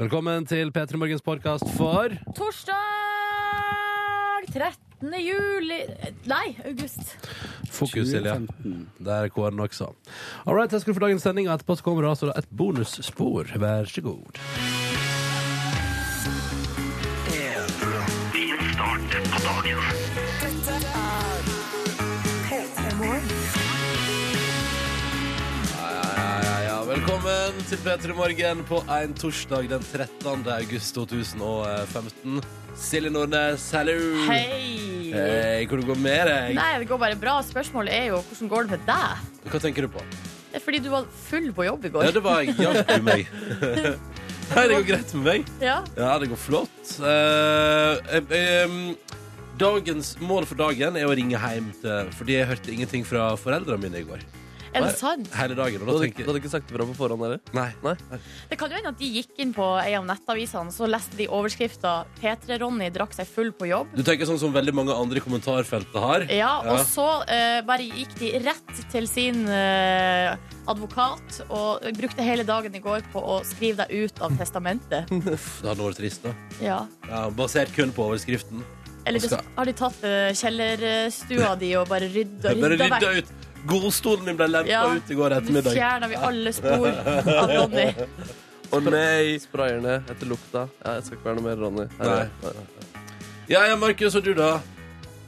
Velkommen til P3 Morgens podkast for Torsdag 13. juli Nei, august. Fokus, Silje. Der er kåren også. All right, jeg skal få dagens sending, og etterpå så kommer det altså et bonusspor. Vær så god. Ja, ja, Velkommen til P3 Morgen på en torsdag den 13. august 2015. Silje Nordnes, hallo! Hei. Hei, hvordan går det med deg? Nei, det går bare bra. Spørsmålet er jo hvordan går det med deg? Hva tenker du på? Det er fordi du var full på jobb i Ja, går. det var hjalp du meg. Nei, det går greit med meg. Ja. Ja, det går flott. Eh, eh, eh, dagens mål for dagen er å ringe hjem til Fordi jeg hørte ingenting fra foreldrene mine i går. Er det sant? Hele dagen. Du Og da hadde, du tenker jeg hadde ikke sagt det bra på forhånd, eller? Nei. Nei? Det kan jo hende at de gikk inn på ei av nettavisene, så leste de overskrifta 'P3-Ronny drakk seg full på jobb'. Du tenker sånn som veldig mange andre i kommentarfeltet har. Ja, Ja. og så eh, bare gikk de rett til sin eh, advokat og brukte hele dagen i går på å skrive deg ut av testamentet. Uff, Det hadde vært trist, da. Ja. Ja, basert kun på overskriften. Eller Skal- har de tatt eh, kjellerstua di og bare rydda, Jeg bare rydda rydda vekk? ut. Godstolen min ble lempa Ja. ut i går Nå ettermiddag. fjerna vi alle spor av Ronny. Å nei! Sprayer ned etter lukta. Ja, jeg skal ikke være noe mer Ronny. Her er jeg. Ja, ja, Markus, og du, da?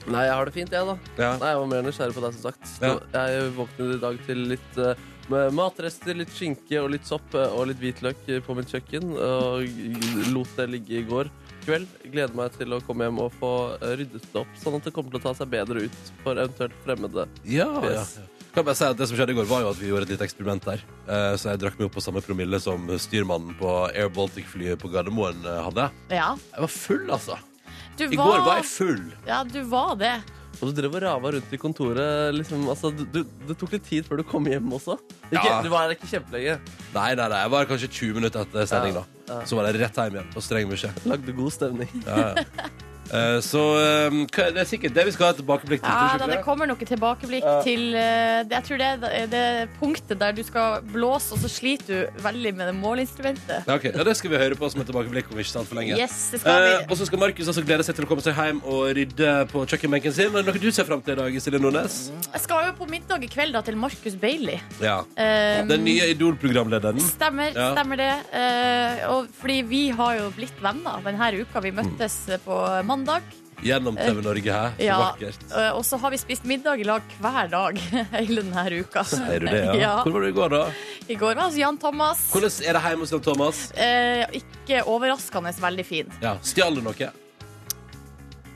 Nei, jeg har det fint, jeg, da. Ja. Nei, Jeg var mer nysgjerrig på deg, som sagt. Ja. Nå- Jeg våknet i dag til litt eh, med matrester, litt skinke og litt sopp eh, og litt hvitløk eh, på mitt kjøkken. Og lot det ligge i går kveld. Gleder meg til å komme hjem og få eh, ryddet det opp, sånn at det kommer til å ta seg bedre ut for eventuelt fremmede. Ja, ja. Yes. Kan jeg bare si at Det som skjedde i går, var jo at vi gjorde et lite eksperiment der. Eh, Så jeg drakk meg opp på samme promille som styrmannen på Air Baltic-flyet på Gardermoen eh, hadde. Ja. Jeg var full, altså. Du I går var var, jeg full. ja, du var det. Og du drev og rava rundt i kontoret. Liksom, altså, du, du, det tok litt tid før du kom hjem også. Ikke, Ja. Du var her ikke kjempelenge. Nei, nei, nei, jeg var kanskje 20 minutter etter sending, Ja, da. Så var jeg rett hjem igjen på streng beskjed. Lagde god stemning. Ja, ja. Eh, Så eh, hva- det er sikkert det vi skal ha tilbakeblikk til. Ja, tror du da, ikke det det? kommer nok et tilbakeblikk til eh, det, Jeg tror det er det punktet der du skal blåse, og så sliter du veldig med det måleinstrumentet. Ja, ok. ja, det skal vi høre på som et tilbakeblikk om ikke sant for lenge. Yes, det skal Eh, vi. og så skal Markus altså glede seg til å komme seg hjem og rydde på kjøkkenbenken sin. Er det noe du ser fram til i dag, Silje Nordnes? Jeg skal jo på middag i kveld da, til Marcus Bailey. Ja. Eh, Den nye Idol-programlederen. Stemmer, Ja. stemmer det. Eh, og fordi vi har jo blitt venner denne uka. Vi møttes på mandag. Gjennom TV Norge her. Så Eh, Ja, vakkert. eh, og så har vi spist middag i lag hver dag hele denne uka. Er du det, ja? Ja. Hvor var du i går, da? I går var altså Jan Thomas. Hvordan er det hjemme hos Jan Thomas? Eh, ikke overraskende veldig fin. Ja, Stjal du noe?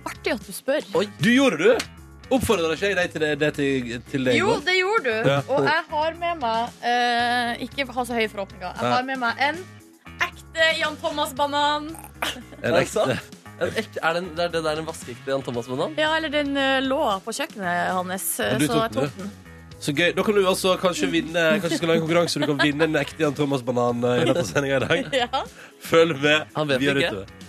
Artig at du spør. Du gjorde det, du! Oppfordra ikke jeg deg til det, det til, til det i Jo, går? det gjorde du. Ja. Og jeg har med meg eh, Ikke ha så høye forhåpninger. Jeg Nei. har med meg en ekte Jan Thomas-banan. En ekte. En ekte- er det, en- det er det der en vaskeekte Jan Thomas-banan? Ja, eller den eh, lå på kjøkkenet hans, eh, Men du så tok jeg den, tok den. Så gøy. Da kan du også kanskje vinne Kanskje vi skal lage en konkurranse så du kan vinne en ekte Jan Thomas-banan eh, i løpet av sendinga i dag. Ja. Følg med. Han vet videre ikke. utover.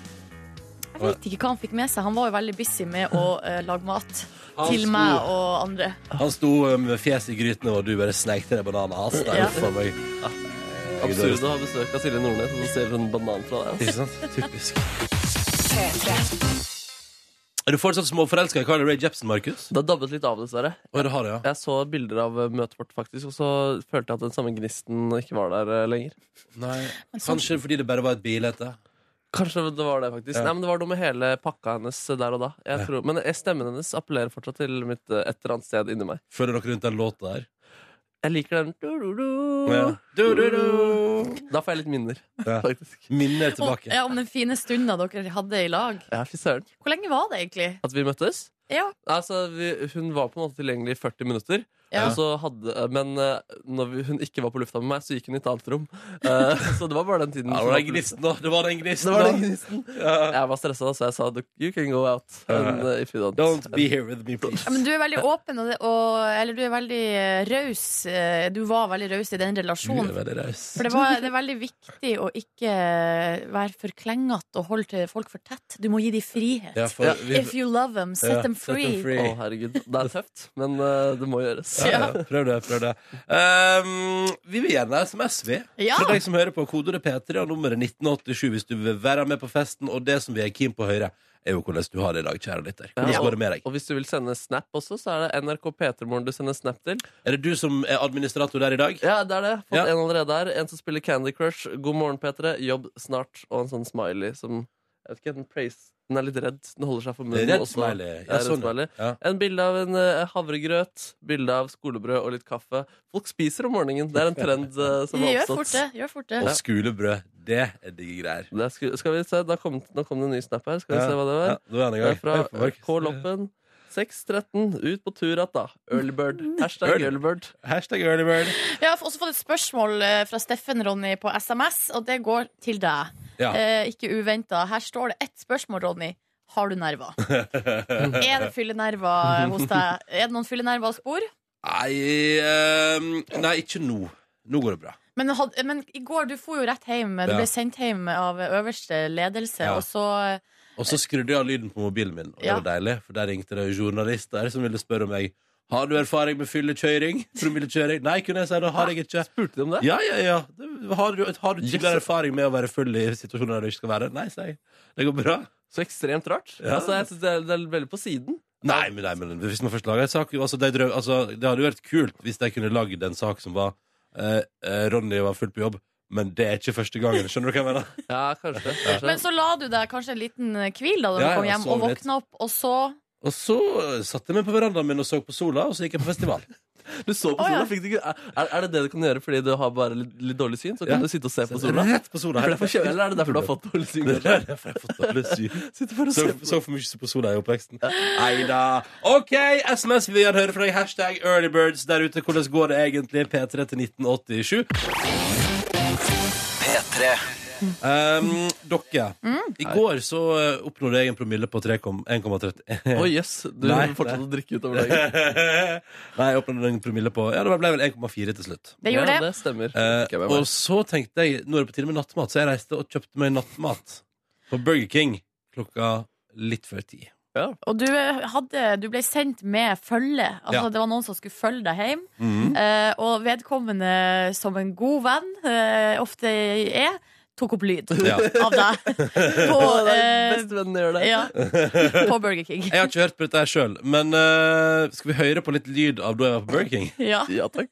Jeg vet ikke hva han fikk med seg. Han var jo veldig busy med å eh, lage mat Han til sto- meg og andre. Han sto eh, med fjeset i grytene, og du bare sneik til deg bananen Altså, hans. Nei, Ja. uff a meg. eh, Absurd å ha besøk av Silje Nordnes, og så ser hun en banan fra deg. altså. Ikke sant? Typisk. Er du fortsatt småforelska i Carly Rae Jepsen, Markus? Det har dabbet litt av, dessverre. Å, det har det, ja. Jeg så bilder av eh, møtet vårt, faktisk, og så følte jeg at den samme gnisten ikke var der eh, lenger. Nei, sånn- Kanskje fordi det bare var et bilete. Kanskje det var det, faktisk. Ja. Nei, men Det var noe med hele pakka hennes der og da. Jeg tror, men eh, stemmen hennes appellerer fortsatt til mitt eh, et eller annet sted inni meg. Føler dere rundt den låta der? Jeg liker den du-du-du. Da får jeg litt minner, Ja. faktisk. Minnet er Og, tilbake. ja, om den fine stunden dere hadde i lag. Ja, fy søren. Hvor lenge var det egentlig? At vi møttes? Ja, Altså, vi, hun var på en måte tilgjengelig i 40 minutter. Ja. Og så hadde, men eh, når vi, hun ikke var på lufta med meg, så gikk hun i et annet rom. Eh, så det var bare den tiden. Ja, som det var var den på gnisten, lufta. da. Det var den gnisten, Det var den da. gnisten. Ja. Jeg var stressa, så jeg sa you can go out. And, eh, if you don't. Don't be here with me, please. ja, men du er veldig åpen, og, det- og eller du er veldig eh, raus. Eh, Du var veldig raus i den relasjonen. veldig raus. For det, var, det er veldig viktig å ikke eh, være for klengete og holde til folk for tett. Du må gi dem frihet. Ja, for Ja. vi- If you love them, set Ja, them set them free. free. Å, herregud. Det er tøft, men eh, det må gjøres. Ja, ja. Prøv det. prøv det Ehm, Vi vil gjerne ha SMS, vi. Ja. Fra deg som hører på. Kodeordet P3 og nummeret 1987 hvis du vil være med på festen. Og det som vi er keen på å høre, er jo hvordan du har det i dag, kjære lytter. Hvordan Ja, går det med deg? Og hvis du vil sende snap også, så er det NRK P3morgen du sender snap til. Er det du som er administrator der i dag? Ja, det er det. Fått Ja. en allerede her. En som spiller Candy Crush. God morgen, P3. Jobb snart. Og en sånn smiley som Jeg vet ikke, den praise Den er litt redd. Den holder seg for munnen. Redd og så- smiley. Ja, Ja, redd sånn, ja. smiley. ja. En bilde av en eh, havregrøt, bilde av skolebrød og litt kaffe. Folk spiser om morgenen. Det er en trend eh, som har Gjør fort det. oppstått. Gjør fort det. Og skolebrød. Det er digge greier. Det er sku- skal vi se, da kom, Nå kom det en ny snap her. Skal vi se hva det var? Ja, nå er han i Det gang. er fra Hør på Markus. K. Loppen. 6.13, ut på tur att, da. Earlybird. Mm. Hashtag Early. earlybird. Hashtag earlybird. Jeg har også fått et spørsmål eh, fra Steffen Ronny på SMS, og det går til deg. Ja. Eh, ikke uventa. Her står det ett spørsmål, Ronny. Har du nerver? er det fyllenerver hos deg? Er det noen fyllenerver og spor? Nei, ehm, nei, ikke nå. Nå går det bra. Men, had, men i går, du for jo rett hjem. Du Ja. ble sendt hjem av øverste ledelse, Ja. og så Og så skrudde jeg av lyden på mobilen min, og det Ja. var deilig. For der ringte det journalister som ville spørre om jeg har du erfaring med fyllekjøring. Promillekjøring. Nei, kunne jeg si. Det har jeg ikke. Spurte de om det? Ja, ja, ja. Det- Har du, har du tidligere Yes. erfaring med å være full i situasjoner der du ikke skal være? Nei, sier jeg. Det går bra. Så ekstremt rart. Ja. Altså, jeg synes det, er, det er veldig på siden. Nei, men, nei, men hvis man først lager en sak altså, det, drø- altså, det hadde jo vært kult hvis de kunne lagd en sak som var eh, eh, Ronny var fullt på jobb, men det er ikke første gangen. Skjønner du hva jeg mener? Ja, kanskje. kanskje. Men så la du deg kanskje en liten hvil da, da du Ja, ja, kom hjem, sov og litt. våkna opp, og så Og så eh, satt jeg meg på verandaen min og så på sola, og så gikk jeg på festival. du så på Å, sola, ja. fikk du ikke er, er det det du kan gjøre fordi du har bare litt, litt dårlig syn? Så kan Ja. du sitte og se på sola? Rett på sola. For det er for kjø- Eller er det derfor du har fått dårlig syn? Det er derfor jeg har fått dårlig syn. Sitte bare og Så, se på så for mye på sola i oppveksten. Nei da. OK, SMS vi gjerne hører fra deg. Hashtag earlybirds der ute. Hvordan går det egentlig? P3 til 1987. Um, dere, Mm. i går så eh, oppnådde jeg en promille på 1,31. Å jøss, du Nei, fortsatte nei. å drikke utover dagen. Nei, jeg oppnådde en promille på Ja, det ble vel 1,4 til slutt. Det gjorde Ja, det. det stemmer. Eh, Ikke jeg med og meg. så tenkte jeg Nå er det på tide med nattmat, så jeg reiste og kjøpte meg nattmat på Burger King klokka litt før ti. Og du, hadde, du ble sendt med følge. Altså, Ja. Mhm. Det var noen som skulle følge deg hjem. Eh, og vedkommende, som en god venn eh, ofte er, tok opp lyd Ja. av deg på, Å, det er eh, Bestevennen gjør det. ja, på Burger King. Jeg har ikke hørt på dette her sjøl, men eh, skal vi høre på litt lyd av da jeg var på Burger King? Ja. Ja takk.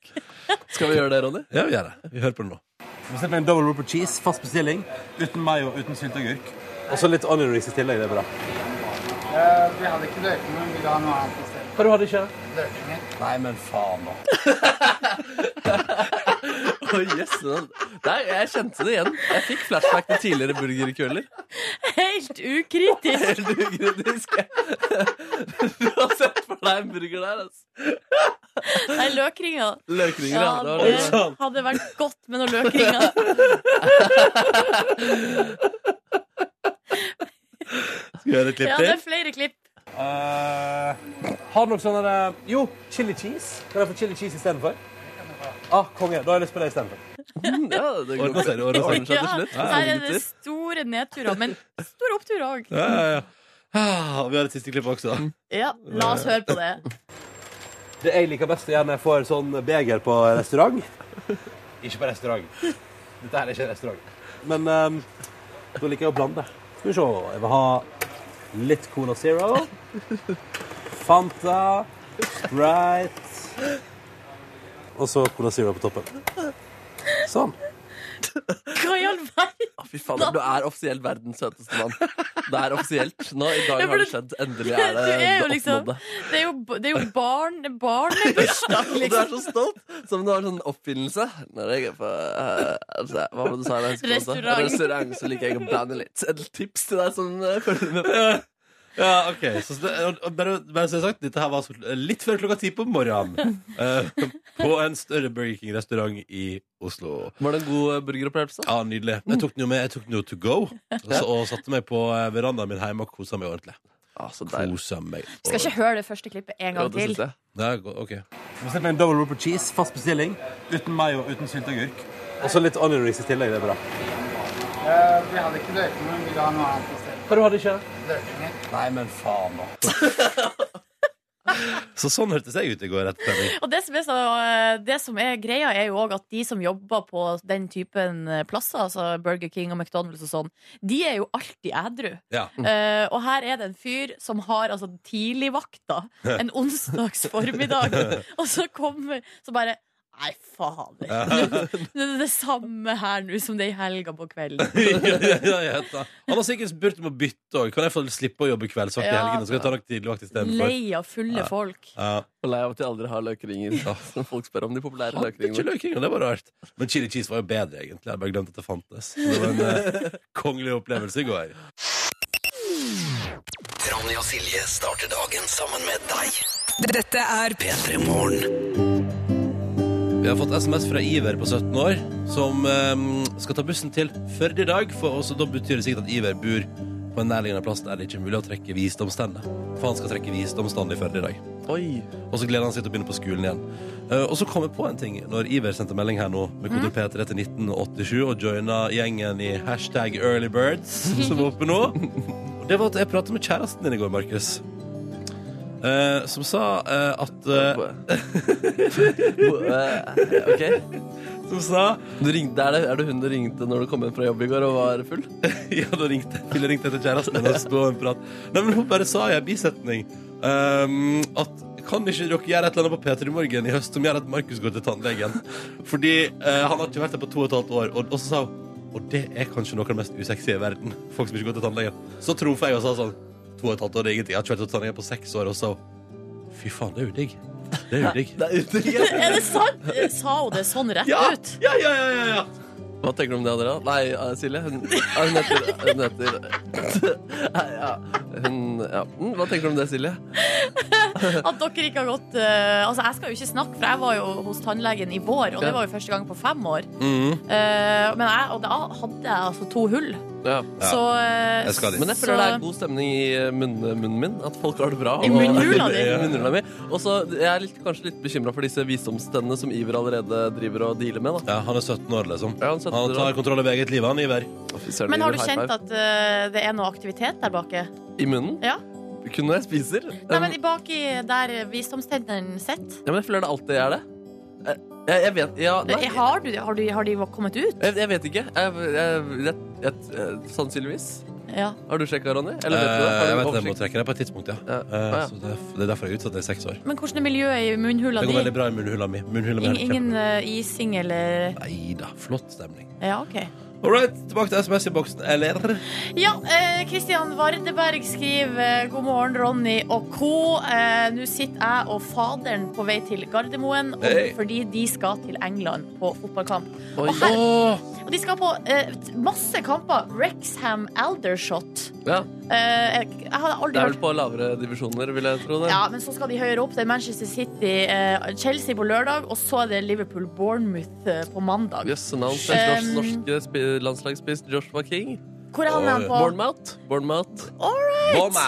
Skal vi gjøre det, Ronny? Ja, vi gjør det. Vi hører på det nå. Slipp en double ripper cheese, fast bestilling. Uten mayo, uten sylteagurk. Og så litt onion rings i tillegg. Det er bra. Eh, Vi hadde ikke løkene, men vi ville ha noe annet i stedet. Hva du hadde ikke? Løkene. Nei, men faen nå. Å, yes, men- Nei, jeg kjente det igjen. Jeg fikk flashback til tidligere burgerkøller. Helt ukritisk! Helt ukritisk. Du har sett for deg en burger der, altså. Nei, løkringer. Løkringer, Ja, ja. Det var det det. Sånn. hadde vært godt med noen løkringer. Skal vi høre et klipp Ja, det er flere klipp. Eh, har du noe sånn der, eh, Jo, chili cheese. Kan jeg få chili cheese istedenfor? Ah, konge. Da har jeg lyst på det istedenfor. Mm, Ja, det går Ordna seg, det ordna seg. ordner seg til Ja, slutt. der er det gutter. store nedturer, men store oppturer òg. til? Ja, ja, ja. Ah, vi har et siste klipp også. Mm. Ja, la oss høre på det. Det jeg liker best, er når jeg får sånn beger på restaurant. ikke på restaurant. Dette her er ikke restaurant. Men ehm, da liker jeg å blande. Skal vi se. Jeg vil ha litt Cola Zero. Fanta. Sprite. Og så Cola Zero på toppen. Sånn. Hva i all verden? Å, Fy fader, du er offisielt verdens søteste mann. Det er offisielt. Nå, I dag Ja, for har det du- skjedd. Endelig Du er eh, det er jo det liksom oppnådde. Det er jo, det er jo barn, barnebursdag, Og du er liksom. så stolt, som om du har en sånn oppfinnelse. Når jeg er på, eh, altså, hva var det du sa? Jeg husker ikke hva du sa. Restaurant. Restaurant, så liker jeg å blande litt. Et tips til deg som eh, følger med. Ja, ok så, det- og- og bare, bare så jeg har sagt, Dette her var så- litt før klokka ti på morgenen. eh, på en større Burger King-restaurant i Oslo. Var det en god eh, burgeropplevelse? Ja, Nydelig. Jeg tok den jo med Jeg tok den jo to go og så- og satte meg på eh, verandaen min hjemme og kosa meg ordentlig. Ah, så deilig. Kosa meg Skal ikke høre det første klippet en Ja, gang det til. synes jeg. Ja, go- ok Bestill en double ripper cheese, fast bestilling. Uten mayo, uten sylteagurk. Og så litt onion rings i tillegg. Det er bra. Eh, Vi hadde ikke løkene, men vi ville ha noe annet i stedet. Hva du hadde ikke? Løkene. Nei, men faen nå. Så sånn hørtes jeg ut i går. etter trening. Og det som, er så, eh, det som er greia, er jo òg at de som jobber på den typen plasser, altså Burger King og McDonald's og sånn, de er jo alltid ædru. Ja. Eh, og her er det en fyr som har altså tidligvakta en onsdags formiddag, og så kommer Så bare Nei, fader. Det er det samme her nå som det er i helga på kvelden. ja, ja, ja, ja. Han har sikkert spurt om å bytte òg. Kan jeg få slippe å jobbe kveldsvakt i Ja. helgene? Så kan jeg ta nok tidligvakt istedenfor. Lei av fulle Ja. folk. Ja. Og lei av at de aldri har løkringer. Som folk spør om de populære Hadde ikke løkringene. løkringer, det var rart. Men chili cheese var jo bedre, egentlig. Jeg hadde bare glemt at det fantes. Så Det var en eh, kongelig opplevelse i går. Ronny og Silje starter dagen sammen med deg. Dette er P3 Morgen. Vi har fått SMS fra Iver på 17 år, som eh, skal ta bussen til Førde i dag. For også da betyr det sikkert at Iver bor på en nærliggende plass der det ikke er mulig å trekke visdomstennet. For han skal trekke visdomstennet i Førde i dag. Oi! Og så gleder han seg til å begynne på skolen igjen. Eh, og så kom jeg på en ting når Iver sendte melding her nå med kode P3 til 1987 og joina gjengen i hashtag earlybirds, som er oppe nå. Og det var at jeg pratet med kjæresten din i går, Markus. Eh, som sa eh, at eh, Eh, OK. Som sa Du ringte, er, det, er det hun du ringte når du kom hjem fra jobb i går og var full? Ja, da ringte jeg til ringte jeg til kjæresten min og så sto og prat. Nei, men hun bare sa i en bisetning ehm, at kan ikke dere gjøre et eller annet på P3 Morgen i høst som gjør at Markus går til tannlegen? Fordi eh, han har ikke vært der på to og et halvt år. Og, og så sa hun og det er kanskje noe av det mest usexy i verden. Folk som ikke går til tannlegen. Så trumfa jeg og sa sånn To og et halvt år det er ingenting. Jeg har ikke vært til tannlegen på seks år. Og så sa hun Fy faen, det er jo digg. Det er jo digg. Det er utrygg. Er det sant? Sa hun det sånn rett Ja, ut? ja, ja, ja, ja, ja. Hva tenker du om det, Andrea? Nei, eh, Silje. Hun, eh, hun heter, hun heter Nei, ja. Hun, ja. Mm, Hva tenker du om det, Silje? At dere ikke har gått eh, Altså, jeg skal jo ikke snakke, for jeg var jo hos tannlegen i vår, og det var jo første gang på fem år. Mm. Mhm. Eh, men jeg, og da hadde jeg altså to hull. Ja. Ja, Så eh, jeg skal dit. Men jeg føler det er god stemning i eh, munn, munnen min. At folk har det bra. I munnhula di? I munnhula mi. Og så jeg er litt, kanskje litt bekymra for disse visdomstennene som Iver allerede driver og dealer med. da ja, han er 17 år, liksom. Ja, han setter Han det tar da. kontroll over eget liv, han, Iver. Fy søren, Men har Iver, du high kjent five. at eh, det er noe aktivitet der bake? I munnen? Ja. Kun når jeg spiser? Nei, men i bak i der visdomstennene sitter. Ja, men jeg føler det alltid er det. Jeg, jeg, jeg vet ja, nei, jeg, Eh, Har, du- har, du- har de kommet ut? jeg vet ikke. Jeg, jeg, jeg, jeg, sannsynligvis. Ja. Har du sjekka, Ronny? Eller vet du det? Eh, Jeg Har du vet det, jeg må oversikt? trekke det på et tidspunkt, ja. Ja. Eh, Ah, ja. Så det, er, det er derfor jeg er utsatt i seks år. Men hvordan er miljøet i munnhula Det går veldig di? bra i munnhula mi. Munnhula mi Ingen, er helt ingen eh, ising eller kjempe- Nei da, flott stemning. Ja, OK. All right, tilbake til SMS-innboksen. Eller? Ja, eh, Kristian Vardeberg skriver eh, God morgen, Ronny og co. Eh, Nå sitter jeg og faderen på vei til Gardermoen og, Hey. fordi de skal til England på fotballkamp. Oi. Og, her, og de skal på eh, t- masse kamper. Rexham Aldershot. Ja, Eh, jeg, jeg hadde det aldri er vel hørt på lavere divisjoner, vil jeg tro. det ja, men så skal de høyere opp. Det er Manchester City, eh, Chelsea på lørdag, og så er det Liverpool-Bournemouth eh, på mandag. Jøss, navn til norsk, Um, norske spi- landslagsspiss Joshua King. Hvor er han Oi. igjen på? Bournemouth. Bournemouth. Bomma!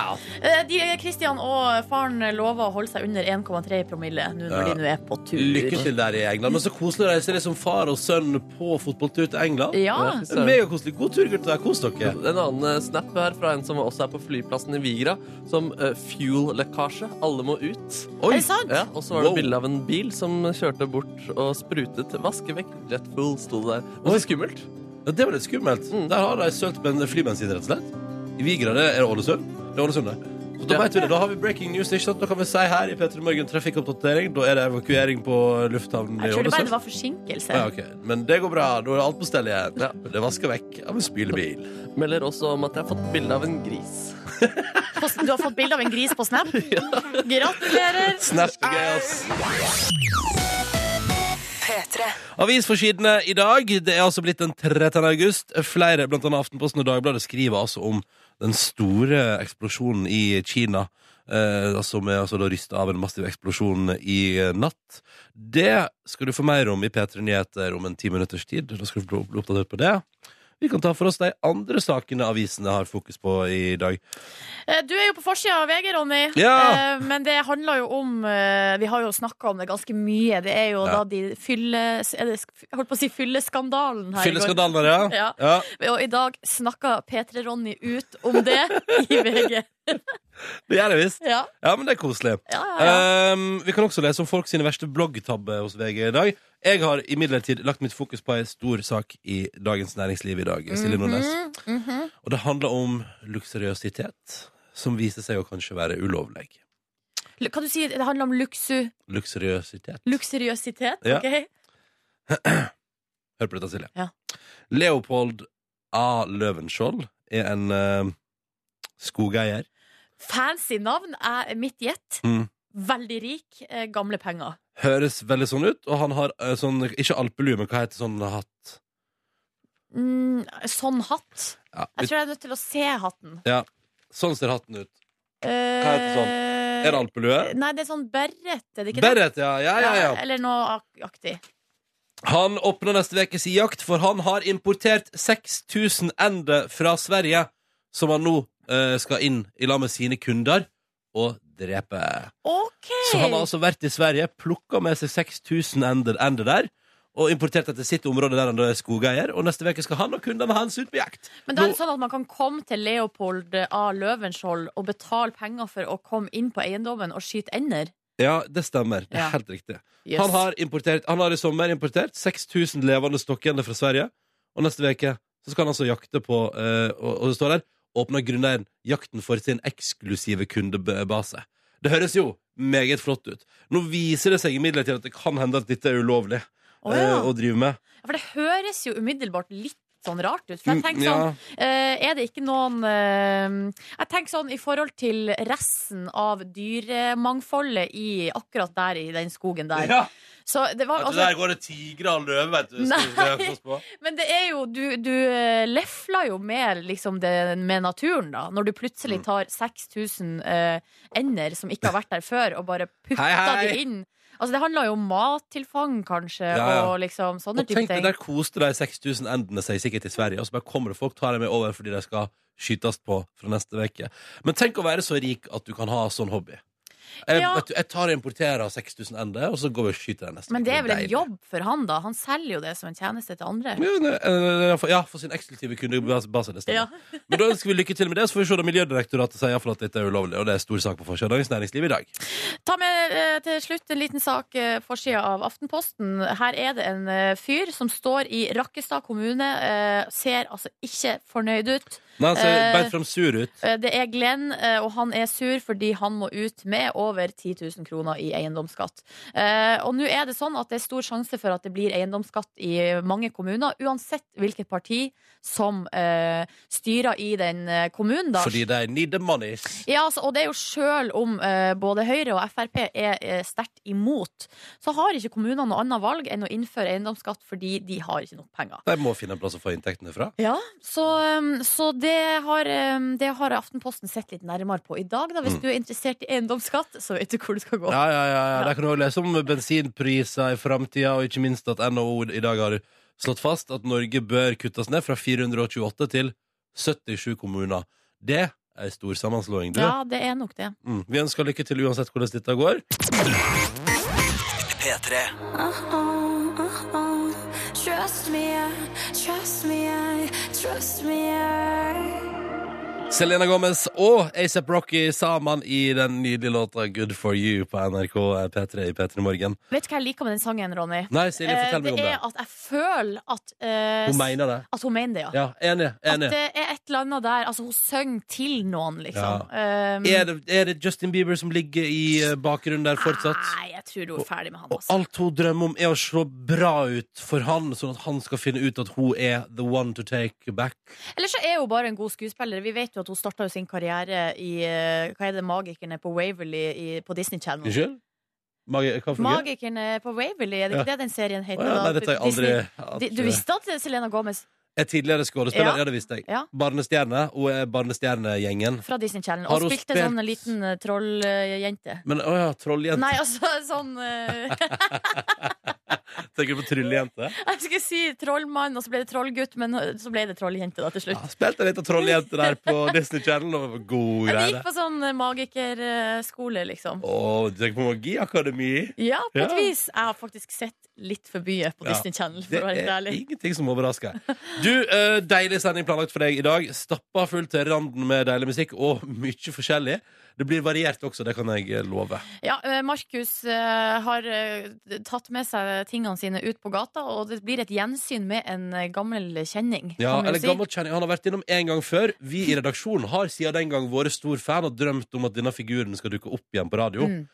Eh, De, Christian og faren lover å holde seg under 1,3 i promille nå når de Ja. nå er på tur. Lykke til der i England. Men så koselig å reise det som far og sønn på fotballtur til England. Ja. Ja, Det er Megakoselig. God tur, gutter. Kos dere. En annen eh, snap her fra en som også er på flyplassen i Vigra, som eh, fuel-lekkasje. Alle må ut. Er det sant? Ja, og så var det Wow. bilde av en bil som kjørte bort og sprutet vaske vekk. Jet full, sto det der. Det var skummelt. Ja, det var litt skummelt. Mm. Der har de sølt ben- flybensin, rett og slett. I Vigra det er Ålesund. Det er Ålesund, det. Så da, Ja. vet vi det. da har vi breaking news. Ikke sant? Da kan vi si her i P3 Morgen trafikkoppdatering. Da er det evakuering på lufthavnen i Jeg trodde bare det Ålesund. var forsinkelse. Ja, ok. Men det går bra. Da er alt på stell igjen. Ja. Det vasker vekk av en spylebil. Melder også om at jeg har fått bilde av en gris. Posten, Du har fått bilde av en gris på Snap. Gratulerer. Snap gøy, ass. Avisforsidene i dag. Det er altså blitt den 13. august. Flere, blant annet Aftenposten og Dagbladet, skriver altså om den store eksplosjonen i Kina. Eh, altså med altså da rysta av en massiv eksplosjon i eh, natt. Det skal du få mer om i P3 Nyheter om en ti minutters tid. Da skal du bli bli oppdatert på det. Vi kan ta for oss de andre sakene avisene har fokus på i dag. Eh, Du er jo på forsida av VG, Ronny. Ja. Eh, Men det handler jo om eh, Vi har jo snakka om det ganske mye. Det er jo da Ja. de fylle... Er det, sk- jeg holdt på å si fylleskandalen her. i går. Fylleskandalen her, ja. Ja. ja. Og i dag snakka P3-Ronny ut om det i VG. Det gjør jeg visst. Ja, Ja, men det er koselig. ja, ja, ja. Ehm, vi kan også lese om folk sine verste bloggtabber hos VG i dag. Jeg har imidlertid lagt mitt fokus på ei stor sak i Dagens Næringsliv i dag. Mhm, Silje Nordnes. Og det handler om luksuriøsitet, som viser seg å kanskje være ulovlig. Lu- Kan du si det handler om luksu, Luksuriøsitet. luksuriøsitet? Ja. ok? Hør på dette, Silje. Ja. Leopold A. Løvenskiold er en eh, skogeier. Fancy navn er mitt gjett. Mm. Veldig rik, eh, gamle penger. Høres veldig sånn ut, og han har eh, sånn Ikke alpelue, men hva heter sånn hatt? Mm, sånn hatt. Ja, Jeg tror jeg er nødt til å se hatten. Sånn ser hatten ut. Eh, Hva heter Er det alpelue? Nei, det er sånn berret, er det ikke det? Beret, ja. Ja, ja, ja. Eh, Eller noe ak- aktig. Han åpner neste uke sin jakt, for han har importert 6000 ender fra Sverige, som han nå eh, skal inn i lag med sine kunder og drepe. OK! Så han har altså vært i Sverige, plukka med seg 6000 ender, ender der. Og importert det til sitt område der han er skogeier. Og neste uke skal han og kundene hans ut på jakt. Men da er det sånn at man kan komme til Leopold A. Løvenskiold og betale penger for å komme inn på eiendommen og skyte ender? Ja, det stemmer. Det er Ja. helt riktig. Jøss. Han, har importert, han har i sommer importert 6000 levende stokkender fra Sverige. Og neste uke så skal han altså jakte på eh, og, og det står der åpner grunneieren jakten for sin eksklusive kundebase. Det høres jo meget flott ut. Nå viser det seg imidlertid at det kan hende at dette er ulovlig Å, eh, ja. å drive med. Ja, For det høres jo umiddelbart litt sånn rart ut. For jeg Mm, tenker ja. sånn Eh, er det ikke noen eh, Jeg tenker sånn i forhold til resten av dyremangfoldet i akkurat der i den skogen der. Ja. Så det var, Vet du, altså, der går det tigre og løver, vet du. Nei. skal vi øse oss på. men det er jo Du, du eh, lefler jo med, liksom det, med naturen, da. Når du Mm. plutselig tar 6000 eh, ender som ikke har vært der før, og bare putter Hei, hei. de inn. Altså Det handler jo om mattilfang, kanskje, Ja, ja. og liksom sånne Og type tenk det, ting. der koste de 6000 endene seg sikkert i Sverige, og så bare kommer det folk, tar dem med over fordi de skal skytes på fra neste uke. Men tenk å være så rik at du kan ha sånn hobby. Jeg, Ja. vet du, jeg tar og importerer 6000 ender, og så går vi og skyter dem neste Men uke. det er vel en deilig. jobb for han, da? Han selger jo det som en tjeneste til andre. Ja, ne- eh, for- ja, for sin eksklusive kundebase. det Ja. stemmer. Men da ønsker vi lykke til med det, så får vi se da Miljødirektoratet sier i hvert fall at dette er ulovlig. Og det er stor sak på forsiden av Dagens Næringsliv i dag. Ta med eh, til slutt en liten sak eh, forsida av Aftenposten. Her er det en eh, fyr som står i Rakkestad kommune. eh, ser altså ikke fornøyd ut. Nei, altså, han ser Eh, beint frem sur ut. Eh, det er Glenn, eh, og han er sur fordi han må ut med over 10 000 kroner i eiendomsskatt. Eh, og nå er det sånn at det er stor sjanse for at det blir eiendomsskatt i mange kommuner, uansett hvilket parti som eh, styrer i den eh, kommunen. Da. Fordi de need the monies. Ja, altså, og det er jo sjøl om eh, både Høyre og Frp er eh, sterkt imot, så har ikke kommunene noe annet valg enn å innføre eiendomsskatt fordi de har ikke nok penger. De må finne en plass å få inntektene fra. Ja, Så, eh, så det, har, eh, det har Aftenposten sett litt nærmere på i dag. Da. Hvis Mm. du er interessert i eiendomsskatt, så vet du hvor du skal gå. Ja, ja, ja, ja. Der kan du også lese om bensinpriser i framtida, og ikke minst at NHO i dag har slått fast at Norge bør kuttes ned fra 428 til 77 kommuner. Det er ei stor sammenslåing, du. Ja, det er nok det. Mm. Vi ønsker lykke til uansett hvordan dette går. P3. Selena Gomez og ASAP Rocky sammen i den nydelige låta Good for you på NRK P3 eh, i P3 Morgen. Vet du hva jeg liker med den sangen, Ronny? Nei, Silje, Eh, fortell meg om det det. er at jeg føler at eh, Hun mener det. At hun mener det, ja. Ja, enig. At enig. det er et eller annet der Altså, hun synger til noen, liksom. Um, Er det, er det Justin Bieber som ligger i eh, bakgrunnen der fortsatt? Nei, jeg tror hun er ferdig med han. Og Altså. alt hun drømmer om, er å se bra ut for han, sånn at han skal finne ut at hun er the one to take back. Eller så er hun bare en god skuespiller. Vi vet jo at hun starta jo sin karriere i eh, Hva er det Magikerne på Waverly i, på Disney Channel? Unnskyld? Magi, hva for noe? Magikerne eh, på Waverly, er det ikke det den serien Å heter? ja, nei, da? dette har jeg aldri eh. Disney- at- Di- Du visste at Selena Gomez Er tidligere skuespiller, Ja. ja. det visste jeg. Ja. Barnestjerne. Hun er barnestjernegjengen. fra Disney Channel Har og hun spilte spilt- sånn liten eh, trolljente? Men å ja, trolljente. Nei, altså sånn eh, Tenker du på tryllejente? Jeg skulle si trollmann, og så ble det trollgutt, men eh, så ble det trolljente da til slutt. Ja, spilte litt av trolljente der på Disney Channel. Og det var god Jeg greie. gikk på sånn eh, magikerskole, liksom. Å, du tenker på Magiakademi? Ja, på et Ja. vis. Jeg har faktisk sett litt for mye på Ja. Disney Channel, for Det å være helt er ærlig. ingenting som overrasker. Du, eh, deilig sending planlagt for deg i dag. Stappa fullt til randen med deilig musikk og mye forskjellig. Det blir variert også, det kan jeg eh, love. Ja, eh, Markus eh, har eh, tatt med seg tingene sine ut på gata, og det blir et gjensyn med en eh, gammel kjenning. kan vi Ja, jo eller si. gammel kjenning. Han har vært innom en gang før. Vi i redaksjonen har siden den gang vært stor fan og drømt om at denne figuren skal dukke opp igjen på radio. Mm.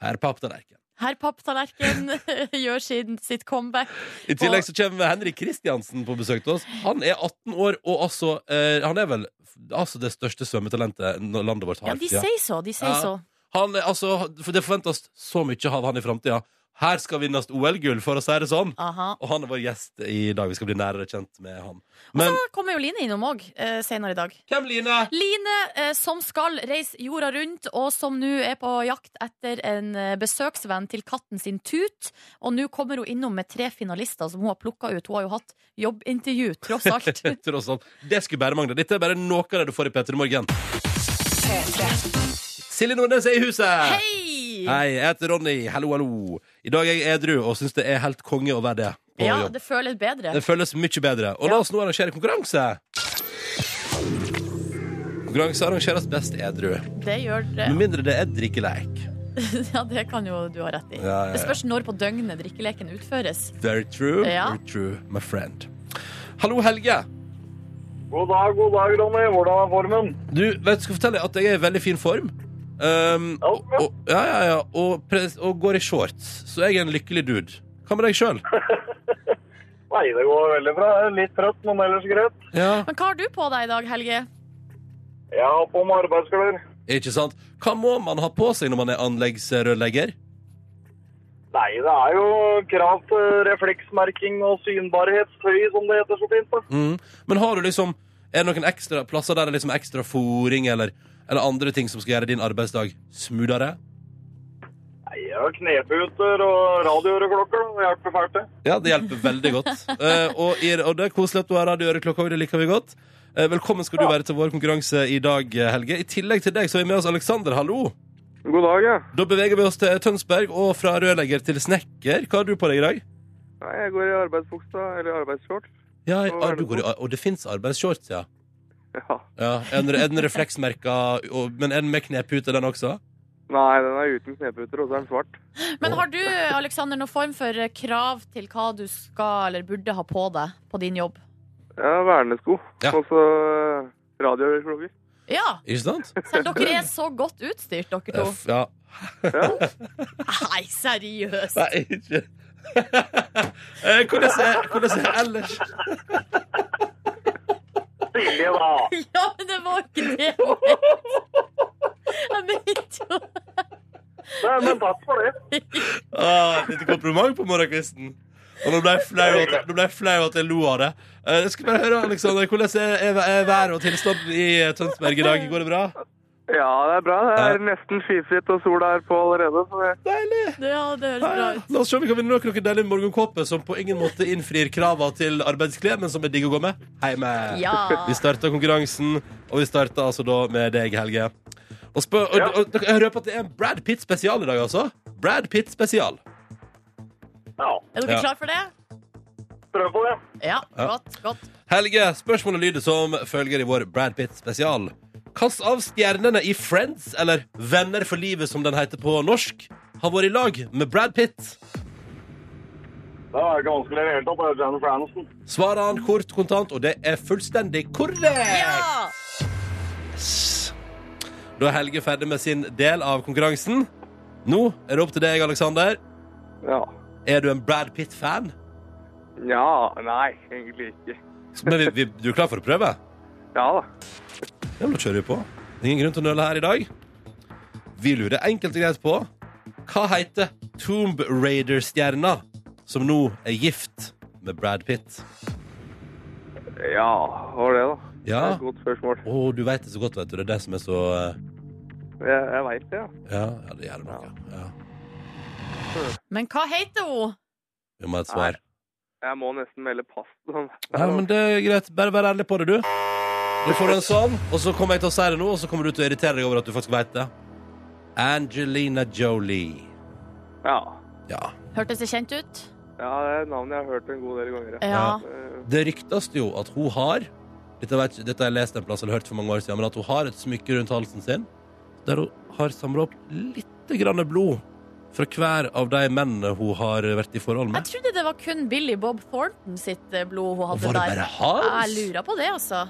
Her på Aptallerken. Herr Papptallerken gjør sin, sitt comeback. I tillegg så kommer Henrik Kristiansen på besøk til oss. Han er 18 år, og altså eh, Han er vel altså det største svømmetalentet når landet vårt har. Ja, de Ja. sier så, de sier Ja. så. Han, er- altså, for det forventes så mye av han i framtida. Her skal vinnes OL-gull, for å si det sånn. Aha. Og han er vår gjest i dag. Vi skal bli nærere kjent med han. Så Men kommer jo Line innom òg eh, senere i dag. hvem, Line? Line eh, som skal reise jorda rundt, og som nå er på jakt etter en eh, besøksvenn til katten sin Tut. Og nå kommer hun innom med tre finalister som hun har plukka ut. Hun har jo hatt jobbintervju, tross alt. Tross alt. Det skulle bare mangle. Dette er bare noe av det du får i P3 Morgen. Silje Nordnes er i huset! Hei! Hei, jeg heter Ronny. Hallo, hallo. I dag er jeg edru og syns det er helt konge å være det. på Ja, jobb. det føles bedre. Det føles mye bedre. Og la oss nå arrangere konkurranse. Konkurranse arrangeres best edru. Det gjør det. Med mindre det er drikkeleik. Ja, det kan jo du ha rett i. Ja, ja, ja. Det spørs når på døgnet drikkeleken utføres. Very true, Ja. very true, my friend. Hallo, Helge. God dag, god dag, Ronny. Hvordan er formen? Du, vet, du, skal fortelle deg at jeg er i veldig fin form. Um, og, og, ja, ja, ja, og, pres- og går i shorts, så jeg er en lykkelig dude. Hva med deg sjøl? Nei, det går veldig bra. Jeg er Litt trøtt, men ellers greit. Ja. Men hva har du på deg i dag, Helge? Jeg har på meg arbeidsklær. Ikke sant? Hva må man ha på seg når man er anleggsrørlegger? Nei, det er jo krav til refleksmerking og synbarhetstøy, som det heter så fint. da. Mm. Men har du liksom Er det noen ekstra plasser der det er liksom ekstra fôring eller, eller andre ting som skal gjøre din arbeidsdag smudere? Nei, jeg har kneputer og radioøreklokker. da. Det hjelper fælt, det. Ja, det hjelper veldig godt. Eh, og, i, og det er koselig at du har radioøreklokka, og det liker vi godt. Eh, velkommen skal du være til vår konkurranse i dag, eh, Helge. I tillegg til deg så er vi med oss Aleksander, hallo. God dag, ja. Da beveger vi oss til Tønsberg, og fra rørlegger til snekker. Hva har du på deg i dag? Nei, jeg går i arbeidsbuksa, eller arbeidsshorts. Ja, ah, du går i, og det fins arbeidsshorts, ja. Ja. ja. Er den- er den refleksmerka, og- men er den med knepute, den også? Nei, den er uten kneputer, og så er den svart. Men har du, Aleksander, noen form for eh, krav til hva du skal eller burde ha på deg på din jobb? Ja, vernesko. Ja. Og så radioøreklokker. Ja, Ikke sant? selv dere er så godt utstyrt, dere to. F, ja. Nei, seriøst! Nei, ikke Eh, Hvordan er hvordan er ellers? Silje, da. Ja, men det var ikke det jeg mente. Jeg mente jo Nei, men takk for det. Ah, litt kompliment på morgenkvisten. Og nå ble jeg flau at, nå ble jeg, flau at jeg lo av det. Eh, Jeg skulle bare høre, Alexander, Hvordan er, er, er været og tilstanden i Tønsberg i dag? Går det bra? Ja, det er bra. Det Ja. er nesten skyfritt, og sola er på allerede. Så det... Deilig! Ja, det høres bra Ja, ut. La oss se om vi kan vinne noen deilige morgenkåper som på ingen måte innfrir krava til arbeidsklær, men som er digg å gå med hjemme. Ja. Vi starta konkurransen, og vi starta altså da med deg, Helge. Og, spør, og, og, og jeg røper at det er en Brad Pitt spesial i dag, altså. Brad Pitt spesial. Ja, Er dere Ja. klar for det? prøv på det. Ja, Ja. godt. godt. Helge, spørsmålet lyder som følger i vår Brad Pitt spesial. Hvilken av stjernene i Friends, eller Venner for livet som den heter på norsk, har vært i lag med Brad Pitt? Det var ikke vanskelig i det hele tatt. Det er Jennifer Aniston. Svarer han kort kontant, og det er fullstendig korrekt! Ja! Da er Helge ferdig med sin del av konkurransen. Nå er det opp til deg, Aleksander. Ja. Er du en Brad Pitt-fan? ja. Nei, egentlig ikke. Men vi, vi, du er klar for å prøve? Ja da. Ja, men da kjører vi på. Det er ingen grunn til å nøle her i dag. Vi lurer enkelt og greit på hva heter Tomb Raider-stjerna som nå er gift med Brad Pitt? Ja, var det, da. Det er Ja. et godt spørsmål. Å, du veit det så godt, vet du. Det er det som er så eh, Jeg, jeg veit det, ja. Ja, ja det gjør det noe. Ja. Men hva heter hun? Vi må ha et svar. Jeg må nesten melde pass. Sånn. Ja, men det er greit. Bare vær ærlig på det, du. Du får en sånn, og så kommer jeg til å si det nå, og så kommer du til å irritere deg over at du faktisk veit det. Angelina Jolie. Ja. Ja. Hørtes det kjent ut? Ja, det er et navn jeg har hørt en god del ganger. ja. Ja. Eh, Det ryktes jo at hun har Dette, vet, ikke- dette har jeg lest en plass eller hørt for mange år siden, men at hun har et smykke rundt halsen sin der hun har samla opp litt grann blod fra hver av de mennene hun har vært i forhold Jeg med. trodde det var kun Billy Bob Thornton sitt eh, blod hun Og hadde var det bare der. Jeg hans? lurer på det, altså.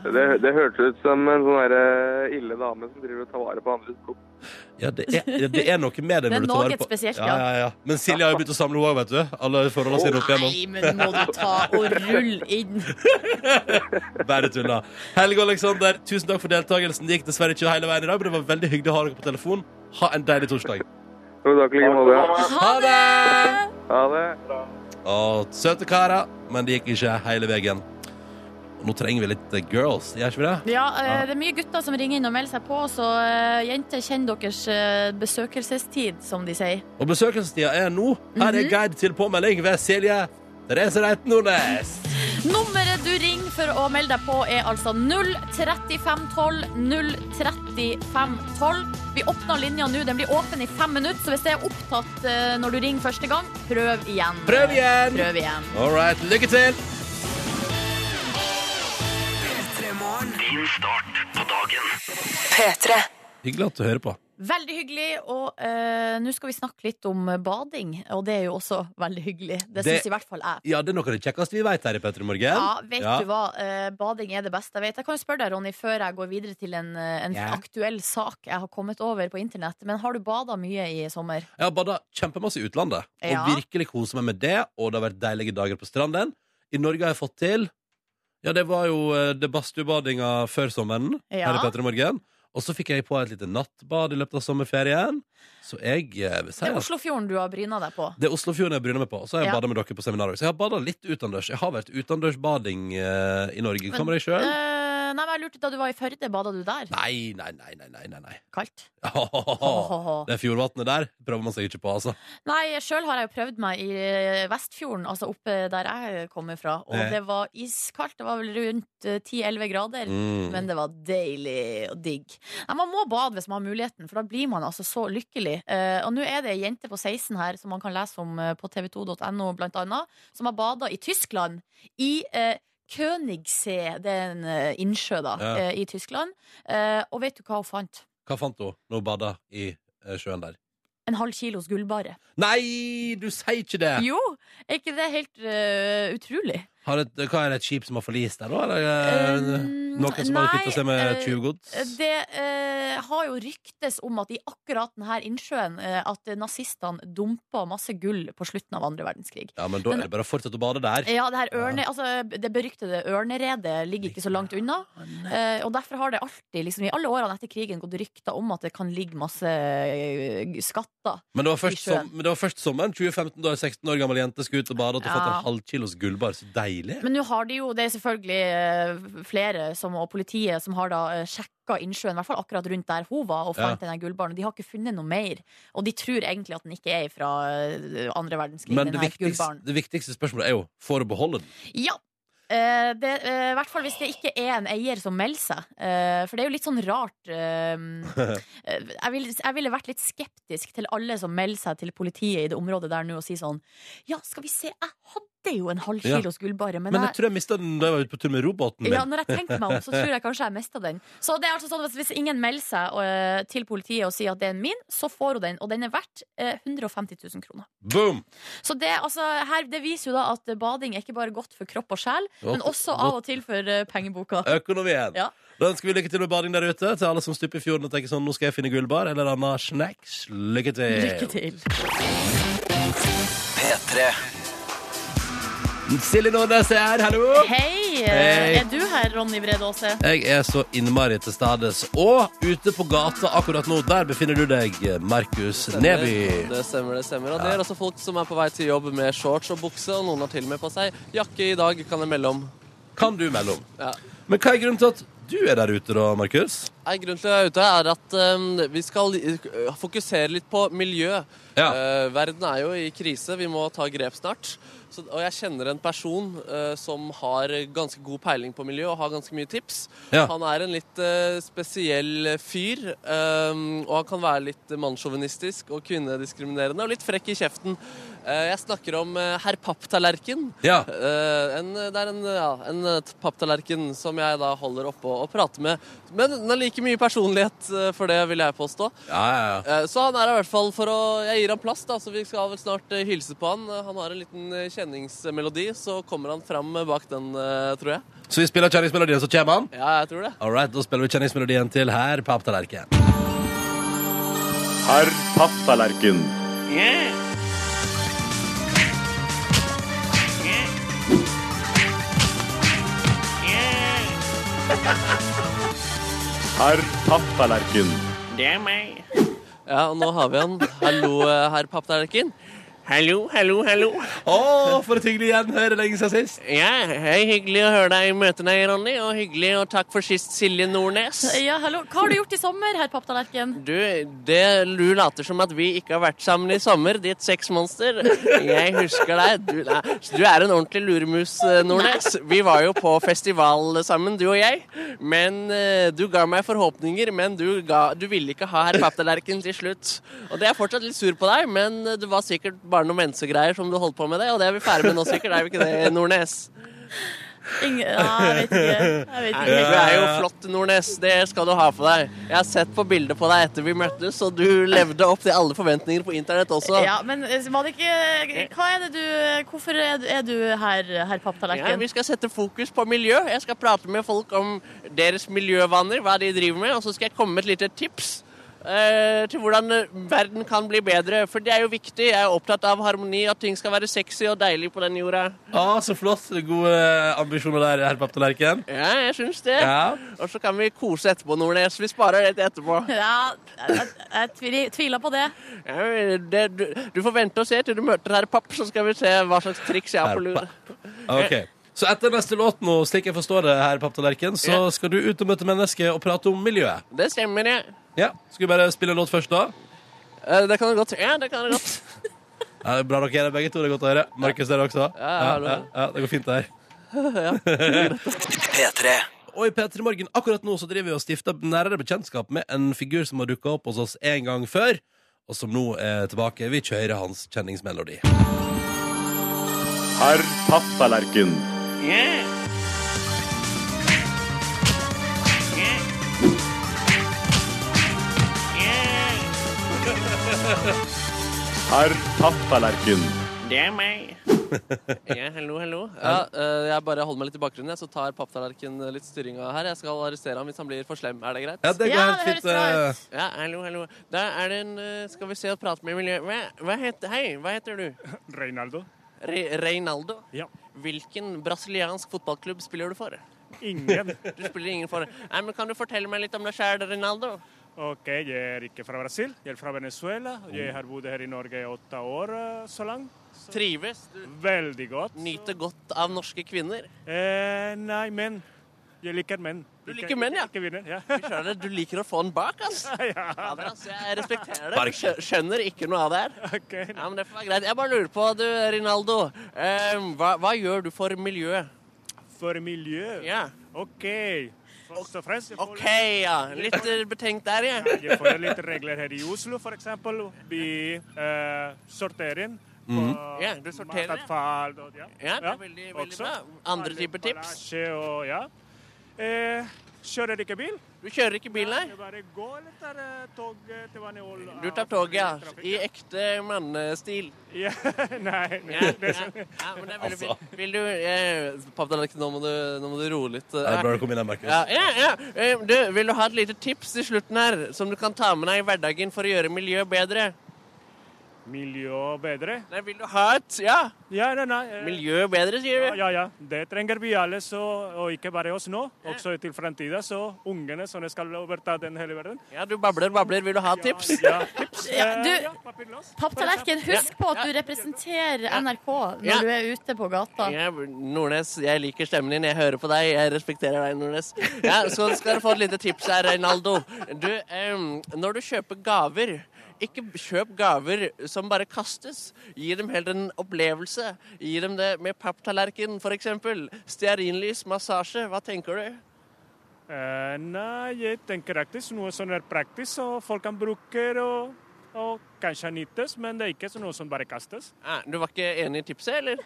Det, det hørtes ut som en sånn der, eh, ille dame som driver og tar vare på andres blod. Ja, det er, det er noe med det Det er når du tar noe vare på spesielt, ja. Ja, ja. Men Silje har jo begynt å samle henne òg, vet du. Alle forholdene sine opp igjennom. Nei, men må du ta og rulle inn. Bare tulla. Helge Aleksander, tusen takk for deltakelsen. Det gikk dessverre ikke hele veien i dag, men det var veldig hyggelig å ha dere på telefon. Ha en deilig torsdag. Jo, takk i like måte. Ha det! Ha det. Å, søte karer, men det gikk ikke hele veien. Og Nå trenger vi litt eh, girls, gjør ikke vi det? Ja, eh, det er mye gutter som ringer inn og melder seg på, så eh, jenter, kjenn deres eh, besøkelsestid, som de sier. Og besøkelsestida er nå. Her Mhm. er guide til påmelding ved Silje Therese Reiten Nordnes. Nummeret du ringer for å melde deg på er altså 03512 03512. Vi åpner linja nå, den blir åpen i fem minutter, så hvis det er opptatt eh, når du ringer første gang, prøv igjen. Prøv igjen! Prøv igjen. All right, lykke til! Din start på dagen. Hyggelig at du hører på. Veldig hyggelig, og eh, nå skal vi snakke litt om bading, og det er jo også veldig hyggelig. Det, Det- synes syns i hvert fall jeg. Ja, det er noe av det kjekkeste vi vet her i Petter i morgen. Ja, vet du hva? Eh, bading er det beste jeg vet. Jeg kan jo spørre deg, Ronny, før jeg går videre til en, eh, en Ja. aktuell sak jeg har kommet over på internett, men har du bada mye i sommer? Jeg har bada kjempemasse i utlandet og Ja. virkelig kosa meg med det. Og det har vært deilige dager på stranden. I Norge har jeg fått til Ja, det var jo eh, det badstuebadinga før sommeren. Ja. Her i Petter i morgen. Og så fikk jeg på et lite nattbad i løpet av sommerferien. Så jeg eh, vil si Det er at Oslofjorden du har bryna deg på. det er Oslofjorden jeg bryner meg på. Og så har jeg Ja. badet bada med dere på seminar også. Så jeg har bada litt utendørs. Jeg har vært utendørsbading eh, i Norge. Hva med deg sjøl? Eh, nei, men jeg lurte Da du var i Førde, bada du der? Nei, nei, nei, nei, nei. nei, nei. Kaldt? Det fjordvannet der prøver man seg ikke på, altså. Nei, sjøl har jeg jo prøvd meg i eh, Vestfjorden, altså oppe der jeg kommer fra. Og Ja. det var iskaldt. Det var vel rundt eh, 10-11 grader. Mm. Men det var deilig og digg. Nei, man må bade hvis man har muligheten, for da blir man altså så lykkelig. Eh, og nå er det ei jente på 16 her som man kan lese om eh, på tv2.no, blant annet, som har bada i Tyskland. I eh, Königssee, det er en eh, innsjø da, Ja. eh, i Tyskland. Eh, og vet du hva hun fant? Hva fant hun når hun bada i eh, sjøen der? En halv kilos gullbare. Nei, du sier ikke det! Jo! Er ikke det helt eh, utrolig? Har et, hva er det et skip som har forlist der, da? Eller, eh, Um, noen som har nei, kvitta seg med eh, tjuvgods? Det eh, har jo ryktes om at i akkurat denne innsjøen eh, at nazistene dumpa masse gull på slutten av andre verdenskrig. Ja, men da er det bare å fortsette å bade der. Ja, Det her ørne, altså, det beryktede ørneredet ligger ikke så langt unna. eh, og derfor har det alltid, liksom, i alle årene etter krigen, gått rykter om at det kan ligge masse eh, skatter. Men det var først, sånn- i sjøen. som, men det var først sommeren 2015, da ei 16 år gammel jente skulle ut og bade og hadde fått Ja. en halv kilos gullbar. Så deilig! Men nå har de jo, det er selvfølgelig eh, flere som, og politiet som har da eh, sjekka innsjøen, i hvert fall akkurat rundt der hun var, og fant den der gullbaren. De har ikke funnet noe mer. Og de tror egentlig at den ikke er fra eh, andre verdenskrig. Men den det her viktigste, gullbaren. det viktigste spørsmålet er jo får du beholde den. Ja. Eh, det, eh, I hvert fall hvis det ikke er en eier som melder seg. Eh, for det er jo litt sånn rart eh, eh, jeg, vil, jeg ville vært litt skeptisk til alle som melder seg til politiet i det området der nå og si sånn Ja, skal vi se, jeg hadde jo en halv Ja. kilos gullbare, men, Men jeg jeg tror jeg mista den da jeg var ute på tur med robåten min. Ja, når jeg tenker meg om, så tror jeg kanskje jeg mista den. Så det er altså sånn at Hvis ingen melder seg øh, til politiet og sier at det er min, så får hun den. Og den er verdt øh, 150 000 kroner. Boom! Så det, er altså, her, det viser jo da at bading er ikke bare godt for kropp og sjel, men også av og til for øh, pengeboka. Økonomien. Ja. Da ønsker vi lykke til med bading der ute. Til alle som stuper i fjorden og tenker sånn, nå skal jeg finne gullbar eller annen snacks. Lykke til. Lykke til. P3. Silje Nordnes er her, hallo! Hei! øh, Hei. Er du her, Ronny Brede Aase? Jeg er så innmari til stades. Og ute på gata akkurat nå, der befinner du deg, Markus Neby. Det stemmer, det stemmer. Og det er også folk som er på vei til jobb med shorts og bukse, og noen har til og med på seg jakke i dag, kan jeg melde om. Kan du melde om? Ja. Men hva er grunnen til at du er der ute, da, Markus? Nei, grunnen til at jeg er ute, er at eh, vi skal eh, fokusere litt på miljø. Ja. Eh, verden er jo i krise, vi må ta grep snart. Så, og jeg kjenner en person eh, som har ganske god peiling på miljø og har ganske mye tips. Ja. Han er en litt eh, spesiell fyr, eh, og han kan være litt mannssjåvinistisk og kvinnediskriminerende og litt frekk i kjeften. Eh, jeg snakker om eh, herr Papptallerken. Ja. Eh, en, det er en, ja, en eh, papptallerken som jeg da holder oppå og prater med. Men den har like mye personlighet eh, for det, vil jeg påstå. Ja, ja, ja. Eh, så han er her i hvert fall for å Jeg gir ham plass, da, så vi skal vel snart eh, hilse på han. Eh, han har en liten eh, kjenningsmelodi, så kommer han fram eh, bak den, eh, tror jeg. Så vi spiller kjenningsmelodien, så kommer han? Ja, jeg tror det. All right, da spiller vi kjenningsmelodien til Herr Papptallerken. Herr Papptallerken. Herr Papptallerken. Ja, og nå har vi han. Hallo, eh, herr papptallerken. Hallo, hallo, hallo. Å, for et hyggelig gjenhør lenge siden sist. Ja, hei, hyggelig å høre deg i møte deg, Ronny, og hyggelig og takk for sist, Silje Nordnes. Ja, hallo. Hva har du gjort i sommer, herr Papptallerken? Du, det, du later som at vi ikke har vært sammen i sommer, ditt sexmonster. Jeg husker deg. Du, nei, du er en ordentlig luremus, eh, Nordnes. Vi var jo på festival sammen, du og jeg. Men eh, du ga meg forhåpninger, men du, ga, du ville ikke ha herr Papptallerken til slutt. Og det er jeg fortsatt litt sur på deg, men eh, det var sikkert bare noen mensegreier som du holdt på med det, og det er vi ferdig med nå sikkert, er vi ikke det, Nordnes? Ing- ja, jeg vet ikke. Jeg vet Nei, ikke. Du er jo flott, Nordnes. Det skal du ha på deg. Jeg har sett på bildet på deg etter vi møttes, og du levde opp til alle forventninger på internett også. Ja, men eh, var det ikke Hva er det du Hvorfor er du, er du her, herr Ja, Papptallerken? vi skal sette fokus på miljø. Jeg skal prate med folk om deres miljøvaner, hva de driver med, og så skal jeg komme med et lite tips. eh, til hvordan eh, verden kan bli bedre. For det er jo viktig. Jeg er opptatt av harmoni, at ting skal være sexy og deilig på den jorda. Å, så flott. Gode ambisjoner der, herr Papptallerken. Ja, jeg syns det. Ja. Og så kan vi kose etterpå, Nordnes. Vi sparer det til etterpå. Ja, jeg, jeg tvil- tviler på det. Ja, men det, du, du får vente og se til du møter herr Papp, så skal vi se hva slags triks jeg har på Herr lur. Ok. Eh, Så etter neste låt nå, slik jeg forstår det, herr Papptallerken, så skal du ut og møte mennesker og prate om miljøet. Det stemmer, det. Ja. Skal vi bare spille en låt først, da? Eh, Det kan du godt. Ja, det kan du godt. Ja, det er bra dere er det, begge to. Det er godt å høre. Markus dere også. Ja, ja, det er ja, ja, det går fint, det her. P3. Og i P3 Morgen akkurat nå så driver vi og stifter nærere bekjentskap med en figur som har dukka opp hos oss en gang før, og som nå er tilbake. Vi kjører hans kjenningsmelodi. Herr Papptallerken. Herr Papptallerken. Det er meg. Ja, hallo, hallo. Ja, eh, jeg bare holder meg litt i bakgrunnen, jeg, så tar papptallerken litt styringa her. Jeg skal arrestere ham hvis han blir for slem. Er det greit? Ja, det går Ja, helt det høres fint. bra eh, ut. Ja, hallo, hallo. Da er det en eh, Skal vi se og prate med miljø... Hva, hva heter Hei, hva heter du? Reinaldo? Re Reinaldo? Ja. Hvilken brasiliansk fotballklubb spiller du for? Ingen. Du spiller ingen for. Nei, men Kan du fortelle meg litt om deg sjæl, Reinaldo? OK, jeg er ikke fra Brasil, jeg er fra Venezuela. Jeg har bodd her i Norge i åtte år eh, så langt. Trives? Du Veldig godt. nyter godt av norske kvinner? Eh, nei, men jeg liker menn. Du liker menn, ja? Ikke kvinner, ja. Fy søren, du liker å få den bak, ass. Fader, ass, Jeg respekterer det. Bare- Skjø- Skjønner ikke noe av det her. OK. Ja, men det får være greit. Jeg bare lurer på, du, Rinaldo. eh, hva, hva gjør du for miljøet? For miljø. Ja. OK. Først og fremst jeg får- OK, ja. Litt eh, betenkt der, ja. Jeg får litt regler her i Oslo, for eksempel. Vi eh, sorterer. Mm. på Ja, du sorterer, ja. matavfall og- ja. Ja, det er veldig- veldig Også. bra. Andre Alle typer tips? emballasje Og, ja. eh, kjører ikke bil? Du kjører ikke bil, nei? Jeg bare går eller tar eh, tog til Vaneol. Du tar toget, ja. I ekte mannestil. ja, Nei. nei. Ja, ja, ja, men det er veldig Altså. fint. Vil du eh, Pappdalek, nå, må du- nå må du roe litt. Ja, det eh. er bra du kom inn her, Markus. Ja, ja, ja. Eh, Du, vil du ha et lite tips til slutten her, som du kan ta med deg i hverdagen for å gjøre miljøet bedre? miljø bedre. Nei, vil du ha et Ja. nei, nei. eh, Miljø bedre, sier du? Ja, ja, ja. Det trenger vi alle, så, og ikke bare oss nå. Også til framtida, så ungene som skal overta den hele verden. Ja, du babler, babler. Vil du ha tips? Ja, Ja, Eh, du, papptallerken, husk på at du representerer NRK Ja. når du er ute på gata. Ja, Nordnes, jeg liker stemmen din. Jeg hører på deg. Jeg respekterer deg, Nordnes. Ja, så skal du få et lite tips her, Reinaldo. Du, em, når du kjøper gaver ikke kjøp gaver som bare kastes. Gi dem heller en opplevelse. Gi dem det med papptallerken, f.eks. Stearinlys, massasje. Hva tenker du? Eh, nei, jeg tenker faktisk noe som er praktisk, og folk kan bruke og, og kanskje nyttes, men det er ikke så noe som bare kastes. Ah, Eh, du var ikke enig i tipset, eller?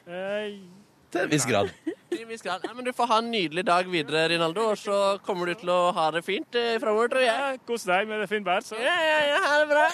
Til en viss grad. Til en viss grad. Nei, men du får ha en nydelig dag videre, Rinaldo, og så kommer du til å ha det fint eh, framover, tror jeg. Ja, kos deg med det fint vær. Så. Ja, ja, ja, ha det bra.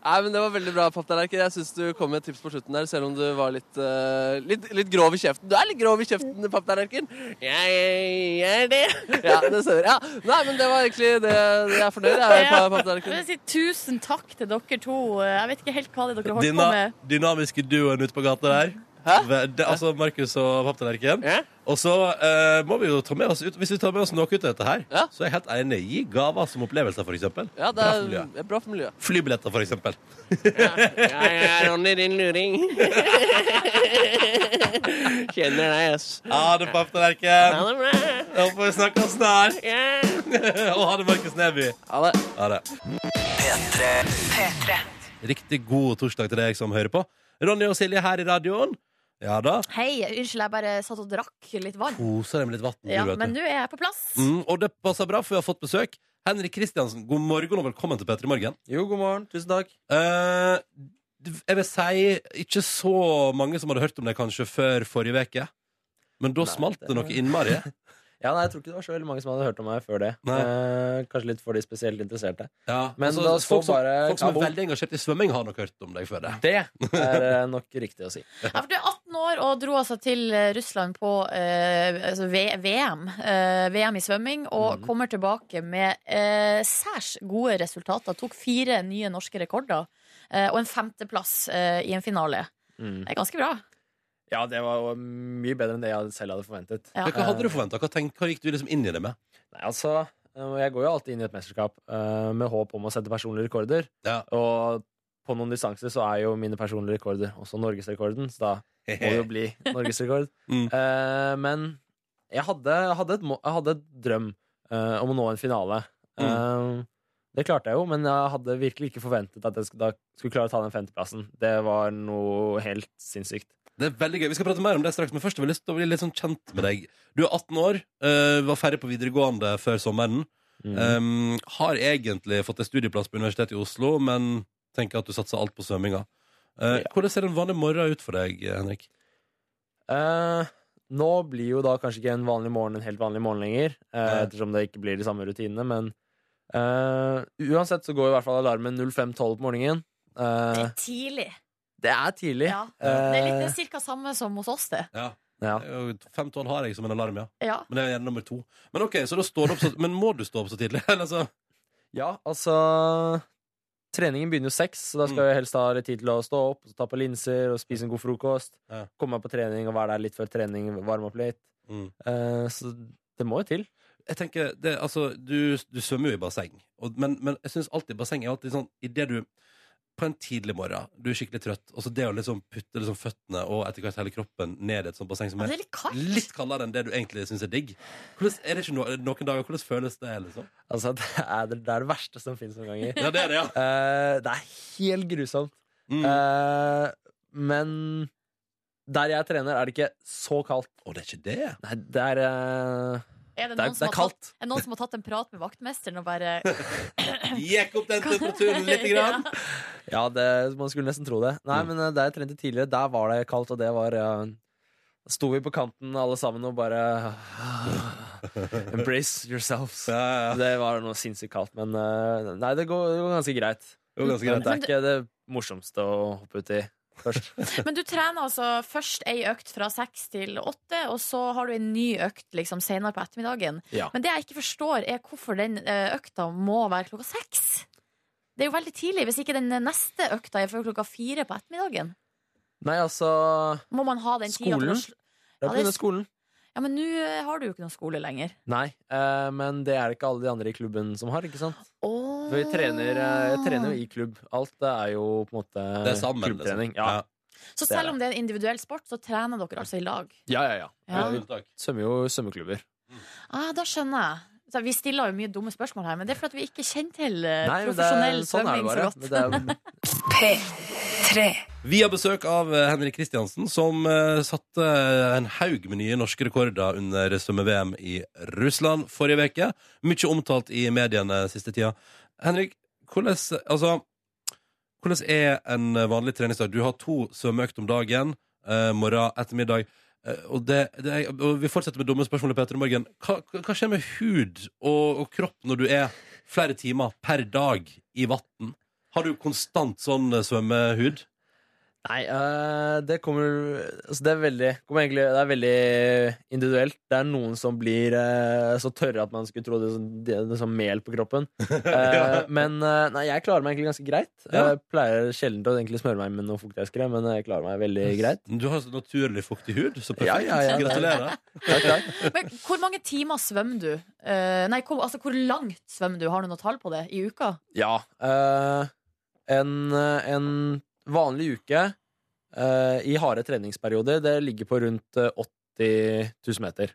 Nei, men Det var veldig bra, papptallerken. Jeg syns du kom med et tips på slutten der, selv om du var litt, eh, litt, litt grov i kjeften. Du er litt grov i kjeften, papptallerken. Jeg, jeg er det. Ja, det stemmer. Ja. Nei, men det var egentlig det jeg er fornøyd med. Ja. Papptallerken. Jeg vil si tusen takk til dere to. Jeg vet ikke helt hva det er dere holder på Dina, med. dynamiske duoen ute på gata der. Ve- Det, altså Markus og papptallerken. Og så eh, må vi jo ta med oss ut Hvis vi tar med oss noe ut av dette her, så er jeg helt enig. Gi gaver som opplevelser, f.eks. Ja, det er, det er bra for miljøet. Flybilletter, f.eks. Ja, jeg er Ronny, din luring. Kjenner deg, ass. Ha det, papptallerken. Ha det bra. Da får vi snakkes snart. Ja. og ha det, Markus Neby. Ha det. Riktig god torsdag til deg som hører på. Ronny og Silje her i radioen. Ja da. Hei, unnskyld, jeg bare satt og drakk litt vann. Koser deg med litt vann. Ja, men nå er jeg på plass. Mm, og det passer bra, for vi har fått besøk. Henrik Kristiansen, god morgen og velkommen til P3 Morgen. Eh, Jo, god morgen. Tusen takk. jeg vil si ikke så mange som hadde hørt om det kanskje før forrige uke, men da smalt det noe innmari. Ja, nei, Jeg tror ikke det var så veldig mange som hadde hørt om meg før det. Nei. Eh, kanskje litt for de spesielt interesserte. Ja, Men altså, da så folk, som, bare- folk som er Kabo. veldig engasjert i svømming, har nok hørt om deg før det. Det er eh, nok riktig å si. Ja, for du er 18 år og dro altså til eh, Russland på eh, altså V- VM, eh, VM i svømming, og kommer tilbake med eh, særs gode resultater. Tok fire nye norske rekorder eh, og en femteplass eh, i en finale. Mm. Det er ganske bra. Ja, det var jo mye bedre enn det jeg selv hadde forventet. Ja. Men hva hadde du forventa? Hva, tenk- hva gikk du liksom inn i det med? Nei, altså, eh, Jeg går jo alltid inn i et mesterskap eh, med håp om å sette personlige rekorder. Og på noen distanser så er jo mine personlige rekorder også norgesrekorden, så da må det jo bli norgesrekord. Mm. Eh, men jeg hadde, hadde, et, må- jeg hadde et drøm eh, om å nå en finale. Mm. Eh, det klarte jeg jo, men jeg hadde virkelig ikke forventet at jeg sk- da skulle klare å ta den femteplassen. Det var noe helt sinnssykt. Det er veldig gøy. Vi skal prate mer om det straks, men først har vi lyst til å bli litt sånn kjent med deg. Du er 18 år, eh, var ferdig på videregående før sommeren. Um, har egentlig fått en studieplass på Universitetet i Oslo, men tenker at du satser alt på svømminga. Eh, Hvordan ser en vanlig morgen ut for deg, Henrik? Eh, nå blir jo da kanskje ikke en vanlig morgen en helt vanlig morgen lenger, eh, ettersom det ikke blir de samme rutinene, men eh, uansett så går i hvert fall alarmen 05.12 på morgenen. Eh, Tidlig. det er tidlig. Ja. Det Eh, er litt det er cirka samme som hos oss, det. Ja. Ja. Fem tonn har jeg som en alarm, ja. Ja. Men det er gjerne nummer to. Men ok, så da står du opp så Men må du stå opp så tidlig? Eller så Ja, altså Treningen begynner jo seks, så da skal jeg helst ha litt tid til å stå opp, ta på linser og spise en god frokost. Komme meg på trening og være der litt før trening, varme opp litt. Eh, så det må jo til. Jeg tenker, det, altså, du, du svømmer jo i basseng, og, men, men jeg syns alltid basseng er alltid sånn Idet du på en tidlig morgen, du er skikkelig trøtt, og så det å liksom putte liksom føttene og etter hvert hele kroppen ned i et sånt basseng som Ja, er det er litt kaldt. litt kaldere enn det du egentlig syns er digg hvordan, Er det ikke no, noen dager Hvordan føles det, liksom? Altså, det er det, det er det verste som finnes noen ganger. Ja, det er det, ja. Mm. Eh, det er helt grusomt. Eh, men der jeg trener, er det ikke så kaldt. Å, det er ikke det? Nei, det er eh, Er det det noen, er, som det har er kaldt. Tatt, er det noen som har tatt en prat med vaktmesteren og bare Gikk opp den temperaturen lite grann? Ja, det, man skulle nesten tro det. Mm. Nei, men eh, der jeg trente tidligere, der var det kaldt, og det var eh, Da sto vi på kanten alle sammen og bare eh, Embrace yourselves. Det var noe sinnssykt kaldt, men eh, Nei, det går, det går ganske greit. Det går ganske greit. Det er ikke det morsomste å hoppe uti først. Men du trener altså først ei økt fra seks til åtte, og så har du en ny økt liksom senere på ettermiddagen. Ja. Men det jeg ikke forstår, er hvorfor den eh, økta må være klokka seks. Det er jo veldig tidlig, hvis ikke den neste økta er før klokka fire på ettermiddagen. Nei, altså Må man ha den tida til å Skolen? sl- Det Ja, det er på er grunn av skolen. Ja, men nå eh, har du jo ikke noen skole lenger. Nei, eh, men det er det ikke alle de andre i klubben som har, ikke sant? For vi trener, eh, jeg trener jo i klubb. Alt det er jo på en måte Det er sammen, liksom. klubbtrening. Ja. Så selv om det er en individuell sport, så trener dere altså i lag. Ja, ja, ja. Ja. Vi Svømmer jo i svømmeklubber. Ah, da skjønner jeg. Så vi stiller jo mye dumme spørsmål her, men det er fordi vi ikke kjenner til eh, Nei, men det er- profesjonell sånn er det svømming bare. så godt. Men det P3. Vi har besøk av eh, Henrik Kristiansen, som eh, satte en haug med nye norske rekorder under svømme-VM i Russland forrige uke. Mye omtalt i mediene siste tida. Henrik, hvordan, altså, hvordan er en vanlig treningsdag? Du har to svømmeøkt om dagen, eh, morgen, ettermiddag. Eh, og, det, det er, og vi fortsetter med dumme spørsmål. Peter, i morgen. Hva, hva skjer med hud og, og kropp når du er flere timer per dag i vann? Har du konstant sånn eh, svømmehud? Nei, eh, det kommer altså det, er veldig, kommer egentlig, det er veldig individuelt. Det er noen som blir eh, så tørre at man skulle tro det, er sånn- det er noe sånn mel på kroppen. Eh, men eh, nei, jeg klarer meg egentlig ganske greit. Ja. Jeg pleier sjelden å egentlig smøre meg med noe fuktighetskre, men jeg klarer meg veldig greit. Du har så naturlig fuktig hud, så perfekt. Ja, ja, ja. Gratulerer. Men hvor mange timer svømmer du? Eh, nei, hvor, altså hvor langt svømmer du? Har du noe tall på det i uka? Ja. eh, en, eh, en vanlig uke eh, i harde treningsperioder, det ligger på rundt eh, 80 000 meter.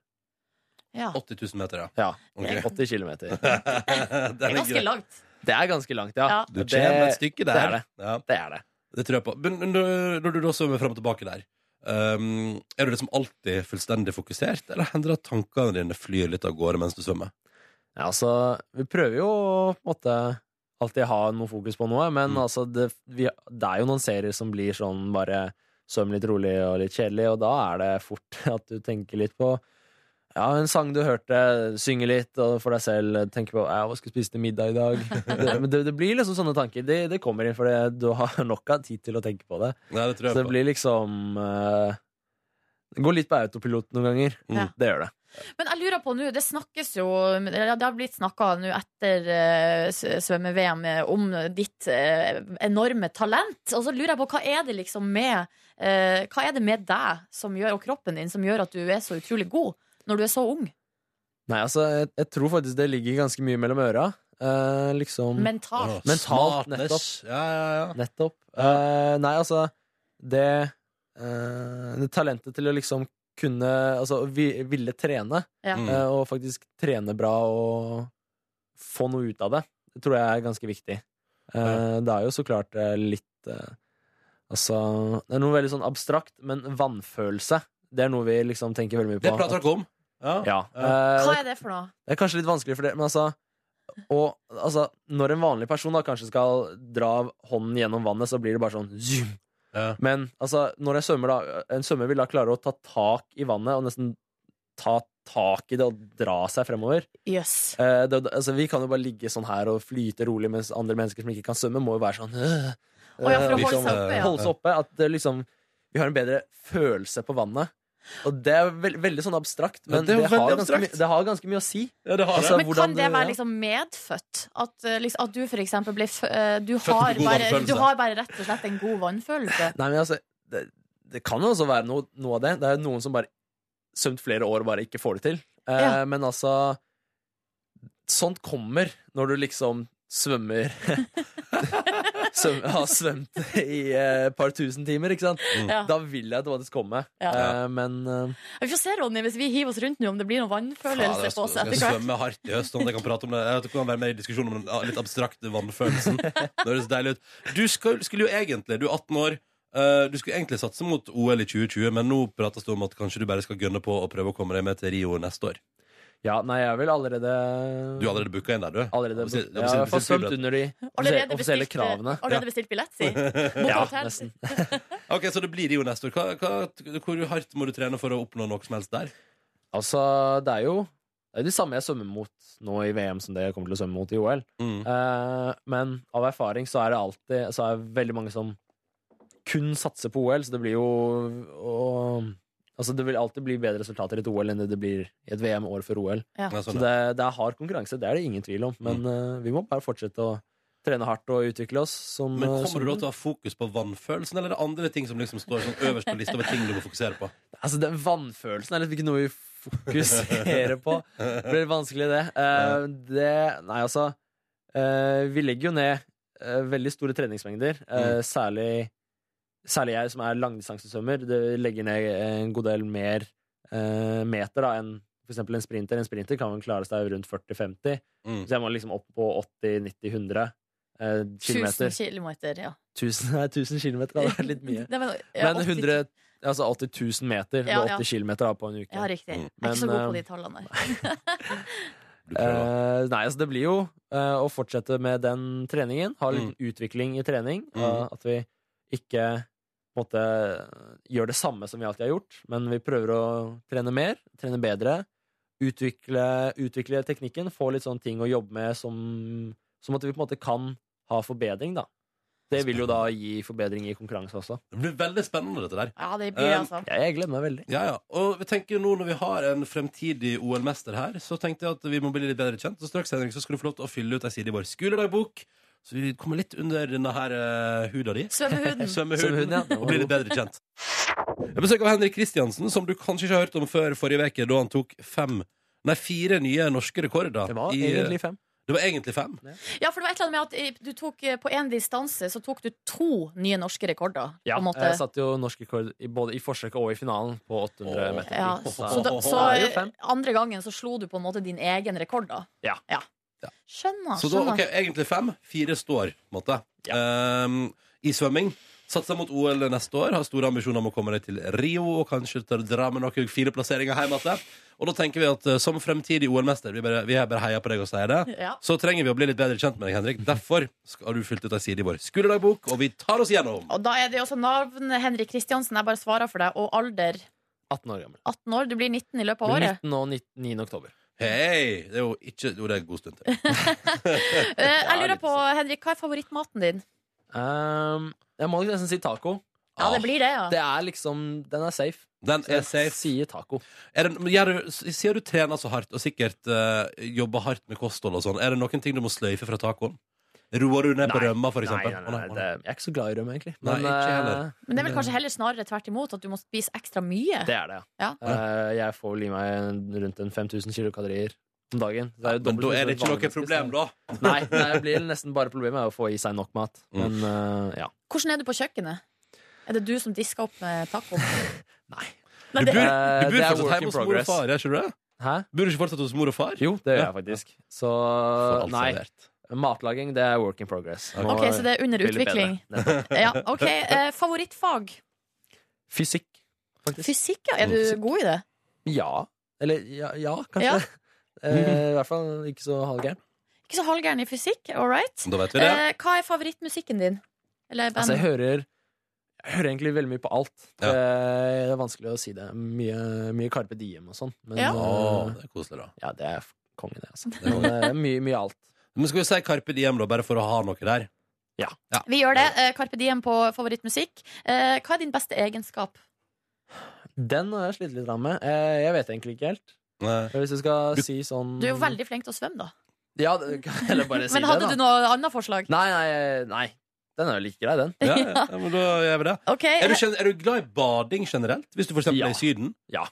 Ja. 80 000 meter, ja. Ja, Ok. 80 kilometer. Det er ganske langt. Det er ganske langt, ja. Du Det- kommer et stykke der. Det er det. Ja. det er det. Det tror jeg på. Men når når du da svømmer fram og tilbake der, ehm, er du liksom alltid fullstendig fokusert, eller hender det at tankene dine flyr litt av gårde mens du svømmer? Ja, altså, vi prøver jo å på en måte alltid ha noe fokus på noe, Mm. men altså, det, vi, det er jo noen serier som blir sånn bare svøm litt rolig og litt kjedelig, og da er det fort at du tenker litt på ja, en sang du hørte, synge litt og for deg selv, tenke på ja, hva skal jeg spise til middag i dag? Det, men det, det blir liksom sånne tanker. Det, det kommer inn, for det- du har nok av tid til å tenke på det. Nei, det tror jeg Så det på. blir liksom eh, Det går litt på autopilot noen ganger. Mm. Ja. Det gjør det. Men jeg lurer på nå, det snakkes jo eller Det har blitt snakka nå etter eh, s- svømme-VM eh, om ditt eh, enorme talent. Og så lurer jeg på hva er det liksom med eh, Hva er det med deg som gjør, og kroppen din som gjør at du er så utrolig god når du er så ung? Nei, altså, jeg, jeg tror faktisk det ligger ganske mye mellom øra. Eh, liksom Mentalt. Mentalt, Smartness. nettopp. Ja, ja, ja. nettopp. Eh, nei, altså det, eh, det talentet til å liksom kunne Altså å vi, ville trene, Ja. Mm. eh, og faktisk trene bra og få noe ut av det, det tror jeg er ganske viktig. Eh, Det er jo så klart eh, litt eh, Altså Det er noe veldig sånn abstrakt, men vannfølelse, det er noe vi liksom tenker veldig mye på. Det prater dere om. Ja. Eh, Hva er det for noe? det er kanskje litt vanskelig for det, men altså og, altså, Når en vanlig person da kanskje skal dra hånden gjennom vannet, så blir det bare sånn zoom. Men altså, når en svømmer, da En svømmer vil da klare å ta tak i vannet og nesten ta tak i det og dra seg fremover. Yes. Eh, det, altså, vi kan jo bare ligge sånn her og flyte rolig, mens andre mennesker som ikke kan svømme, må jo være sånn øh, Å ja, for å holde øh, seg oppe, ja. holde seg oppe. At det liksom Vi har en bedre følelse på vannet. Og det er veld, veldig sånn abstrakt, Ja, men det er jo det, veldig har ganske, abstrakt. mye- det har ganske mye å si. Altså, Men hvordan- kan det være ja. liksom medfødt? At, eh, liksom, at du for eksempel ble fø- eh, du, Født har med god bare, vannfølelse. du har bare rett og slett en god vannfølelse? Nei, men altså Det, det kan jo også være noe, noe av det. Det er jo noen som bare svømt flere år og bare ikke får det til. Eh, Ja. Men altså Sånt kommer når du liksom svømmer Svøm, Har svømt i eh, et par tusen timer, ikke sant? Mm. Ja. Da vil jeg automatisk komme. Ja. Eh, men eh, Vi får se, Ronny, hvis vi hiver oss rundt nå, om det blir noen Faen, vannfølelse jeg på oss skal etter hvert. svømme hardt i høst. Om jeg kan prate om det Jeg vet ikke om jeg kan være med i diskusjon om den ah, litt abstrakte vannfølelsen. Det høres deilig ut. Du skal, skulle jo egentlig, du er 18 år, eh, du skulle egentlig satse mot OL i 2020, men nå prates det om at kanskje du bare skal gønne på og prøve å komme deg med til Rio neste år. ja, nei, jeg vil allerede Du har allerede booka inn der, du. Jeg Allerede, må si- jeg må si- har i hvert fall jeg må si- svømt under de offisielle, Allerede offisielle bestilt, kravene. Allerede bestilt billett, si. Bok Ja, hotell. nesten. Ok, Så det blir Rio neste år. Hva, hva, hvor hardt må du trene for å oppnå noe som helst der? Altså, det er jo det er jo de samme jeg svømmer mot nå i VM som det jeg kommer til å svømme mot i OL. Mm. Eh, men av erfaring så er det alltid Så er det veldig mange som kun satser på OL, så det blir jo og, Altså, det vil alltid bli bedre resultater i et OL enn det det blir i et VM år før OL. Ja. Mm. Ja, sånn Så det, det er hard konkurranse, det er det ingen tvil om, men eh, vi må bare fortsette å trene hardt og utvikle oss. Mm. Som, eh, Men som- kommer du da til å ha fokus på vannfølelsen, eller er det andre ting som liksom står sånn øverst på lista med ting du må fokusere på? Altså, den vannfølelsen er liksom ikke noe vi fokuserer på. Det blir vanskelig, det. Eh, det nei, altså eh, Vi legger jo ned eh, veldig store treningsmengder. eh, Mm. særlig, særlig jeg som er langdistansesvømmer. det Legger ned en god del mer eh, meter da, enn for eksempel en sprinter. En sprinter kan vel klare seg rundt 40-50, Mm. så jeg må liksom opp på 80-90-100 eh, kilometer. 1000 kilometer, ja. 1000, nei, 1000 kilometer hadde vært litt mye. Nei, men, ja, Men 80 100, altså 80 000 meter, Ja, eller ja. 80 kilometer da, på en uke. Ja, Mm. riktig. Jeg er Men, ikke så god eh, på de tallene der. eh, nei, altså det blir jo eh, å fortsette med den treningen, ha litt utvikling i trening, Mm. og at vi ikke på en måte gjør det samme som vi alltid har gjort, men vi prøver å trene mer, trene bedre, utvikle, utvikle teknikken, få litt sånne ting å jobbe med som, som at vi på en måte kan ha forbedring, da. Det vil jo da gi forbedring i konkurranse også. Det blir veldig spennende, dette der. Ja, det blir Um, altså. Jeg gleder meg veldig. Ja, ja. Og vi tenker nå når vi har en fremtidig OL-mester her, så tenkte jeg at vi må bli litt bedre kjent. Og straks Henrik, så skal du få lov til å fylle ut ei side i vår skoledagbok. Så vi kommer litt under denne her eh, huda di. Svømmehuden. Svømmehuden, Svømmehuden, ja. Og bli litt bedre kjent. Jeg besøk av Henrik Kristiansen, som du kanskje ikke har hørt om før forrige uke, da han tok fem, nei, fire nye norske rekorder. Det var egentlig fem. Det var egentlig fem. Ja, for det var et eller annet med at eh, du tok eh, på én distanse så tok du to nye norske rekorder. Ja, på en måte. jeg satte jo norsk rekord i, både i forsøket og i finalen på 800 meter. Ja, så da, så det er jo fem. eh, andre gangen så slo du på en måte din egen rekord, da. Ja. Skjønner. Så da, Ah, skjønner. ok, egentlig fem. Fire står, på en måte. Ehm, I svømming. Satser mot OL neste år. Har store ambisjoner om å komme deg til Rio og kanskje til å dra med noen fine plasseringer hjem igjen. Og da tenker vi at eh, som fremtidig OL-mester, vi, bare- vi bare heier på deg og sier det, Ja. så trenger vi å bli litt bedre kjent med deg, Henrik. Derfor skal du fylt ut ei side i vår skoledagbok, og vi tar oss gjennom. Og da er det jo også navn Henrik Kristiansen. Jeg bare svarer for deg. Og alder 18 år gammel. 18 år. Du blir 19 i løpet av Blir året. 19 og 19 9. oktober. Hei! Det er jo ikke Jo, det er en god stund til. Eh, Jeg lurer på, sånn. Henrik, hva er favorittmaten din? Ehm, jeg må nok nesten si taco. Ja, det blir det, ja. Det er liksom Den er safe. Eh, Den er safe. Sier taco. Er det, men gjør du, sier du trener så hardt og sikkert eh, jobber hardt med kosthold og sånn, er det noen ting du må sløyfe fra tacoen? Roer du ned på Nei. rømma, for Nei, eksempel? nei, nei, Å, å, det- jeg er ikke så glad i rømme, egentlig. eh, Nei, ikke jeg heller. Men det er vel kanskje heller snarere tvert imot, at du må spise ekstra mye? Det er det, ja. Eh, jeg får vel i meg en- rundt en 5000 kilokalorier om dagen. Det er jo Men dobbelt da så mye er det som ikke et vanlig noe problem, da. menneske. Nei, det blir nesten bare problemet er å få i seg nok mat. Mm. Men eh, ja. Hvordan er du på kjøkkenet? Er det du som disker opp med tacoen? Du bor, du bor Eh, det er fortsatt work hjemme in hos mor og progress. far, gjør ikke du det? Hæ? Bor du ikke fortsatt hos mor og far? Jo, det gjør Ja. jeg faktisk. Så alt nei. Matlaging, det er work in progress. Må Ok, så det er under bli litt utvikling. bedre. Nettopp. Ja, ok. Eh, favorittfag? Fysikk, faktisk. Fysikk, ja. Er du Fysikk. god i det? Ja. Eller ja, ja kanskje. Ja. Eh, I hvert fall ikke så halvgæren. Ikke så halvgæren i fysikk, all right? Da vet vi det. Eh, hva er favorittmusikken din? Eller band? Altså, jeg hører jeg hører egentlig veldig mye på alt. Eh, Det er vanskelig å si det. Mye, mye Carpe Diem og sånn. Men Ja. Å, eh, det er koselig, da. Ja, det er f- kongen, det, altså. er kongen. Men, eh, mye, mye alt. Men skal vi si Carpe Diem, da, bare for å ha noe der? Ja. Vi gjør det. Eh, Carpe Diem på favorittmusikk. Eh, hva er din beste egenskap? Den har jeg slitt litt grann med. Eh, Jeg vet egentlig ikke helt. Hvis du skal si sånn Du er jo veldig flink til å svømme, da. Ja, det- kan jeg heller bare si Men hadde det, da. du noe annet forslag? Nei, eh, nei, nei. Den er jo like grei, den. Ja, ja, ja, men da gjør vi det. Ok. Er, du, gen- er du glad i bading generelt? Hvis du for eksempel Ja. er i Syden? Ja.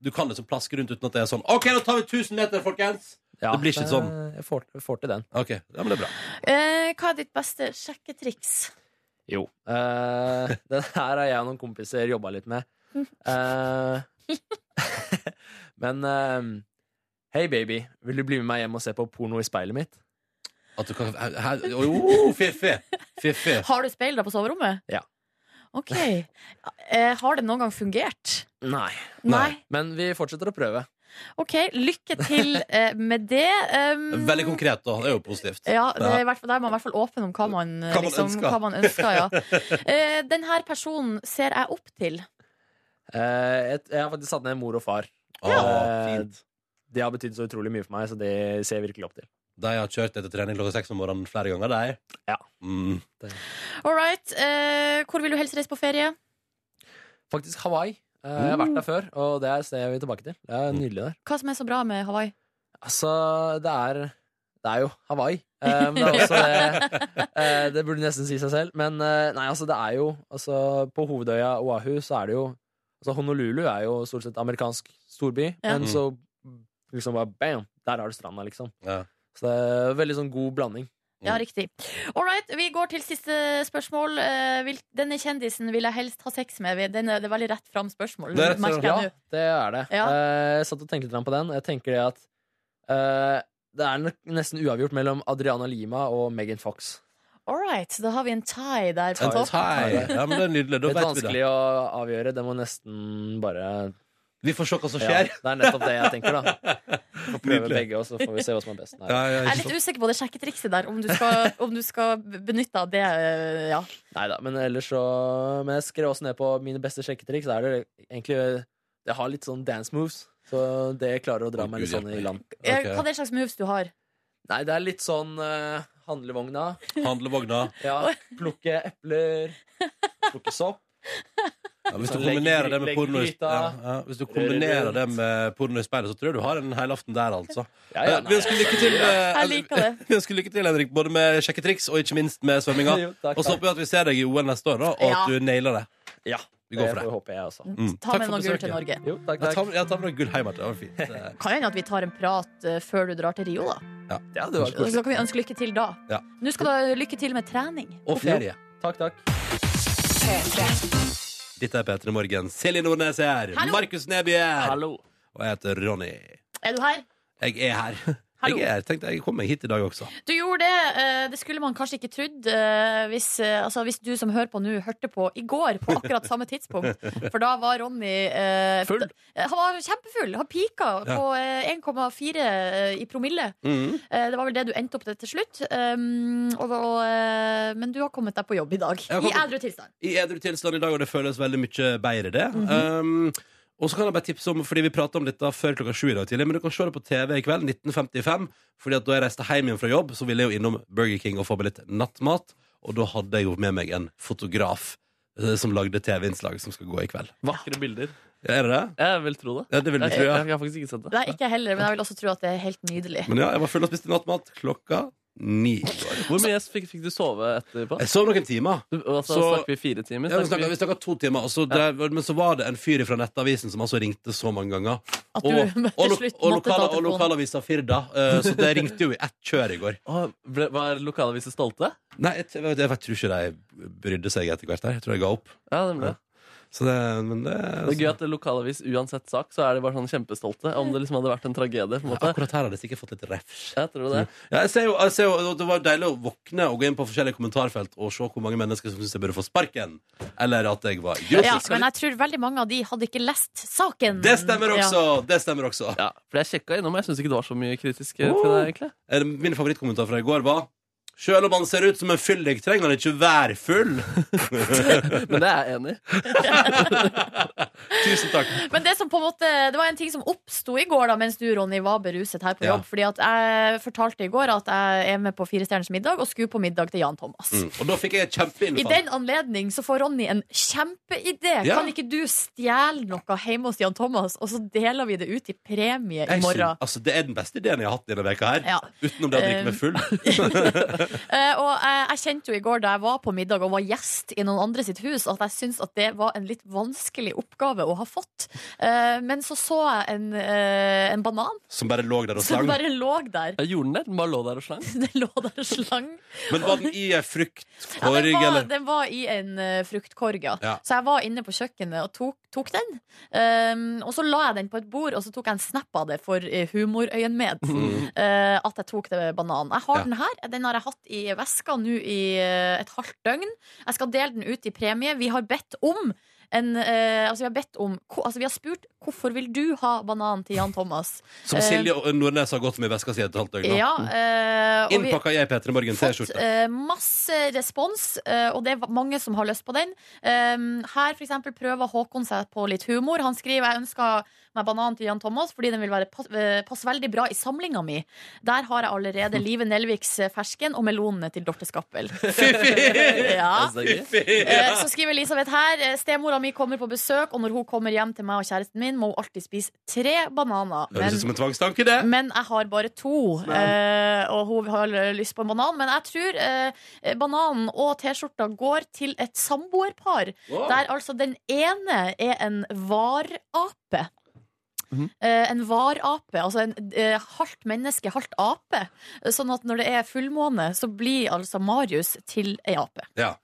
Du kan liksom plaske rundt uten at det er sånn OK, nå tar vi 1000 meter, folkens! Ja, det blir ikke det- sånn. Jeg får, jeg får til den. OK. Ja, men det er bra. Eh, hva er ditt beste sjekketriks? Jo. Eh, den her har jeg og noen kompiser jobba litt med. Eh, men eh, Hei, baby. Vil du bli med meg hjem og se på porno i speilet mitt? At du kan oh, Jo, fiffig! Fiffig. Har du speil da på soverommet? Ja. Ok. Eh, har det noen gang fungert? Nei. Nei. Men vi fortsetter å prøve. Ok, lykke til eh, med det. Um, Veldig konkret, da. Det er jo positivt. ja, det er i hvert fall der man er i hvert fall åpen om hva man, eh, Hva man liksom, ønsker. hva man ønsker ja. eh, den her personen ser jeg opp til. Eh, et, jeg har faktisk satt ned mor og far. Ja. Eh, de har betydd så utrolig mye for meg, så de ser jeg virkelig opp til. De har kjørt etter trening klokka seks om morgenen flere ganger, de. Ja. Mm. All right. Eh, hvor vil du helst reise på ferie? Faktisk Hawaii. Eh, Jeg har vært Mm. der før, og det er et sted jeg vil tilbake til. Det er nydelig der. Hva som er så bra med Hawaii? Altså, det er det er jo Hawaii. Eh, men det, er også det, eh, det burde nesten si seg selv. Men eh, nei, altså, det er jo altså, På hovedøya Oahu så er det jo altså, Honolulu er jo stort sett amerikansk storby, Ja. men Mm. så liksom bare bam, der har du stranda, liksom. Så det er veldig sånn god blanding. Ja, Mm. riktig. All right, vi går til siste spørsmål. Eh, vil- Denne kjendisen vil jeg helst ha sex med. Vi- Den er, det er veldig rett fram spørsmål. Det er rett merker fram. jeg Ja, nå. det er det. Ja. Eh, Jeg satt og tenkte litt grann på den. Jeg tenker det at eh, det er nok nesten uavgjort mellom Adriana Lima og Megan Fox. All right, da har vi en tie der på En topp. tie. Ja, men det er nydelig. Da vet Litt vi det. vanskelig å avgjøre. Det må nesten bare Vi får se hva som skjer. Ja, det er nettopp det jeg tenker, da. Får prøve Nydelig. begge, og så får vi se hva som er best. Nei. Ja, ja, Jeg er litt usikker på det sjekketrikset der, om du skal, om du skal benytte av det. eh, Ja. Neida, men ellers så Men jeg skrev også ned på mine beste sjekketriks. Da er det egentlig eh, Jeg har litt sånn dance moves, så det klarer å dra meg litt Gud, sånn i land. Eh, Hva er det slags moves du har? Nei, det er litt sånn eh, handlevogna. Handlevogna. Ja, plukke epler, plukke sopp. Ja, hvis du Sånn, legg- kombinerer det med legg porno i- gryta. ja, ja, Hvis du kombinerer rundt. det med porno i speilet, så tror jeg du har en hel aften der, altså. Ja, ja, Eh, vi ønsker lykke til, eh, Jeg liker det. vi ønsker lykke til, Henrik, både med sjekketriks og ikke minst med svømminga. Jo, takk, Og så takk. håper vi at vi ser deg i OL neste år, da, og at Ja. du nailer det. Ja, Vi går for det det. håper jeg også. Ta Mm. Takk med for noe gull til besøket. Norge. Jo, Jeg takk, takk. tar, jeg tar med noe gull hjem. Marte. Det var fint. Eh, Kan hende at vi tar en prat eh, før du drar til Rio, da. Ja. Så da kan vi ønske lykke til da. Ja. Nå skal du ha lykke til med trening. Og ferie. Takk, takk. Dette er P3 Morgen. Silje Nordnes er her. Hallo. Markus Neby er her. Og jeg heter Ronny. Er du her? Jeg er her. Hallo. Jeg er her. Tenkte jeg kom meg hit i dag også. Du gjorde det. eh, Det skulle man kanskje ikke trodd eh, hvis, eh, altså, hvis du som hører på nå, hørte på i går på akkurat samme tidspunkt. For da var Ronny eh, Full? eh, Han var kjempefull. Han pika Ja. på eh, 1,4 eh, i promille. Mhm. Eh, Det var vel det du endte opp til til slutt. Um, og, og, eh, men du har kommet deg på jobb i dag. I har kommet- edru tilstand. i edru tilstand i dag, og det føles veldig mye bedre, det. um, og så kan jeg bare tipse om, fordi vi prata om dette før klokka sju i dag tidlig, men du kan se det på TV i kveld, 1955. fordi at da jeg reiste hjem igjen fra jobb, så ville jeg jo innom Burger King og få meg litt nattmat. Og da hadde jeg jo med meg en fotograf eh, som lagde TV-innslag som skal gå i kveld. Vakre bilder. Er det det? Jeg vil tro det. Ja, det vil du Jeg- tro, ja. jeg, jeg har faktisk ikke sett det. Nei, ikke jeg heller, men jeg vil også tro at det er helt nydelig. Men ja, jeg var full og spiste nattmat klokka ni. i går. Hvor mye fikk, fikk du sove etterpå? Jeg sov noen timer. Du, altså, Så- snakker vi fire timer? Ja, vi Snakker snakka, vi- vi snakka to timer, og så drev, men så var det en fyr fra Nettavisen som altså ringte så mange ganger. At du til og, lo- slutt og, måtte ta lokala, og telefonen. lokalavisa Firda. eh, så det ringte jo i ett kjør i går. Å, ble, var lokalavisen stolte? Nei, jeg, jeg, jeg, tror ikke de brydde seg etter hvert. der. Jeg tror de ga opp. Ja, det ble det. Så det, men det, Det er gøy at lokalavis uansett sak, så er de bare sånn kjempestolte. Om det liksom hadde vært en tragedie. på en måte Akkurat her hadde jeg sikkert fått litt refs. Jeg tror det. Ja, jeg ser jo, jeg ser jo, det var deilig å våkne og gå inn på forskjellige kommentarfelt og se hvor mange mennesker som syns jeg burde få sparken. Eller at jeg var grotesk. Ja, men jeg tror veldig mange av de hadde ikke lest saken. Det stemmer også! Ja. Det stemmer også. For jeg sjekka innom, jeg syns ikke det var så mye kritisk eh, til deg, egentlig. Eh, Min favorittkommentar fra i går var Sjøl om han ser ut som en fyllik, trenger han ikke være full. Men det er jeg enig i. Tusen takk. Men det som på en måte Det var en ting som oppsto i går, da mens du, Ronny, var beruset her på Ja. jobb. Fordi at jeg fortalte i går at jeg er med på Fire stjerners middag og skulle på middag til Jan Thomas. Mm. Og da fikk jeg et I kjempeinnfall. den anledning så får Ronny en kjempeidé. Ja. Kan ikke du stjele noe hjemme hos Jan Thomas, og så deler vi det ut i premie i Jeg morgen? synes- Altså, det er den beste ideen jeg har hatt denne veka her. Ja. Utenom det å drikke meg full. Eh, og jeg, jeg kjente jo i går da jeg var på middag og var gjest i noen andre sitt hus, at jeg syntes at det var en litt vanskelig oppgave å ha fått. Eh, men så så jeg en, eh, en banan Som bare lå der og som sang. bare lå der. Jeg gjorde den der. Den bare lå der og slang. Den lå der og slang. Men var den i ei Ja, fruktkorg, den, var, eller? den var i en eh, fruktkorg, ja. Ja. Så jeg var inne på kjøkkenet og tok, tok den. Ehm, og så la jeg den på et bord, og så tok jeg en snap av det for eh, humorøyenmed. Mm. eh, at jeg tok det med banan. Jeg har Ja. den her. Den har jeg hatt i veska nå i eh, et halvt døgn. Jeg skal dele den ut i premie. Vi har bedt om en, eh, altså vi har bedt om ko- altså Vi har spurt hvorfor vil du ha banan til Jan Thomas. Som Eh, Silje og Nordnes har gått med i veska si et halvt døgn nå. ja, eh, og vi- Innpakka i ei P3 Morgen-T-skjorte. Eh, masse respons, eh, og det er mange som har lyst på den. Um, her for eksempel prøver Håkon seg på litt humor. Han skriver jeg ønsker meg banan til Jan Thomas fordi den vil være pass, eh, passe veldig bra i samlinga mi. Der har jeg allerede Live Nelviks eh, fersken og melonene til Dorte Skappel. ja. Jeg synes det er gøy. Eh, Så skriver Elisabeth her eh, Stemora Mora mi kommer på besøk, og når hun kommer hjem til meg og kjæresten min, må hun alltid spise tre bananer. Høres ut som en tvangstanke, det. men jeg har bare to, eh, og hun har lyst på en banan. Men jeg tror eh, bananen og T-skjorta går til et samboerpar, Wow. der altså den ene er en varape. Mhm. Eh, en varape, altså en eh, halvt menneske, halvt ape. Sånn at når det er fullmåne, så blir altså Marius til ei ape. Ja.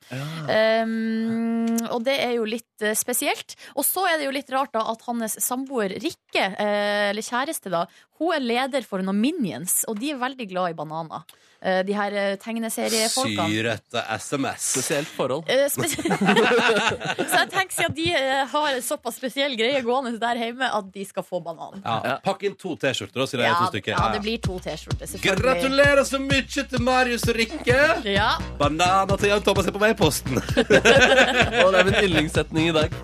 Um, og det er jo litt eh, spesielt. Og så er det jo litt rart da at hans samboer Rikke, eh, eller kjæreste, da hun er leder for noen Minions, og de er veldig glad i bananer. Eh, de her eh, tegneseriefolkene. Syrete SMS. Spesielt forhold. Eh, spe- så jeg tenker siden de eh, har en såpass spesiell greie gående der hjemme, at de skal få banan. Ja. Pakk inn to T-skjorter, da, siden det Ja, er to stykker. ja, det blir to T-skjorter. selvfølgelig. Gratulerer så mye til Marius og Rikke! Ja. Bananer til Jan Thomas er på vei i posten. Og det er min yndlingssetning i dag.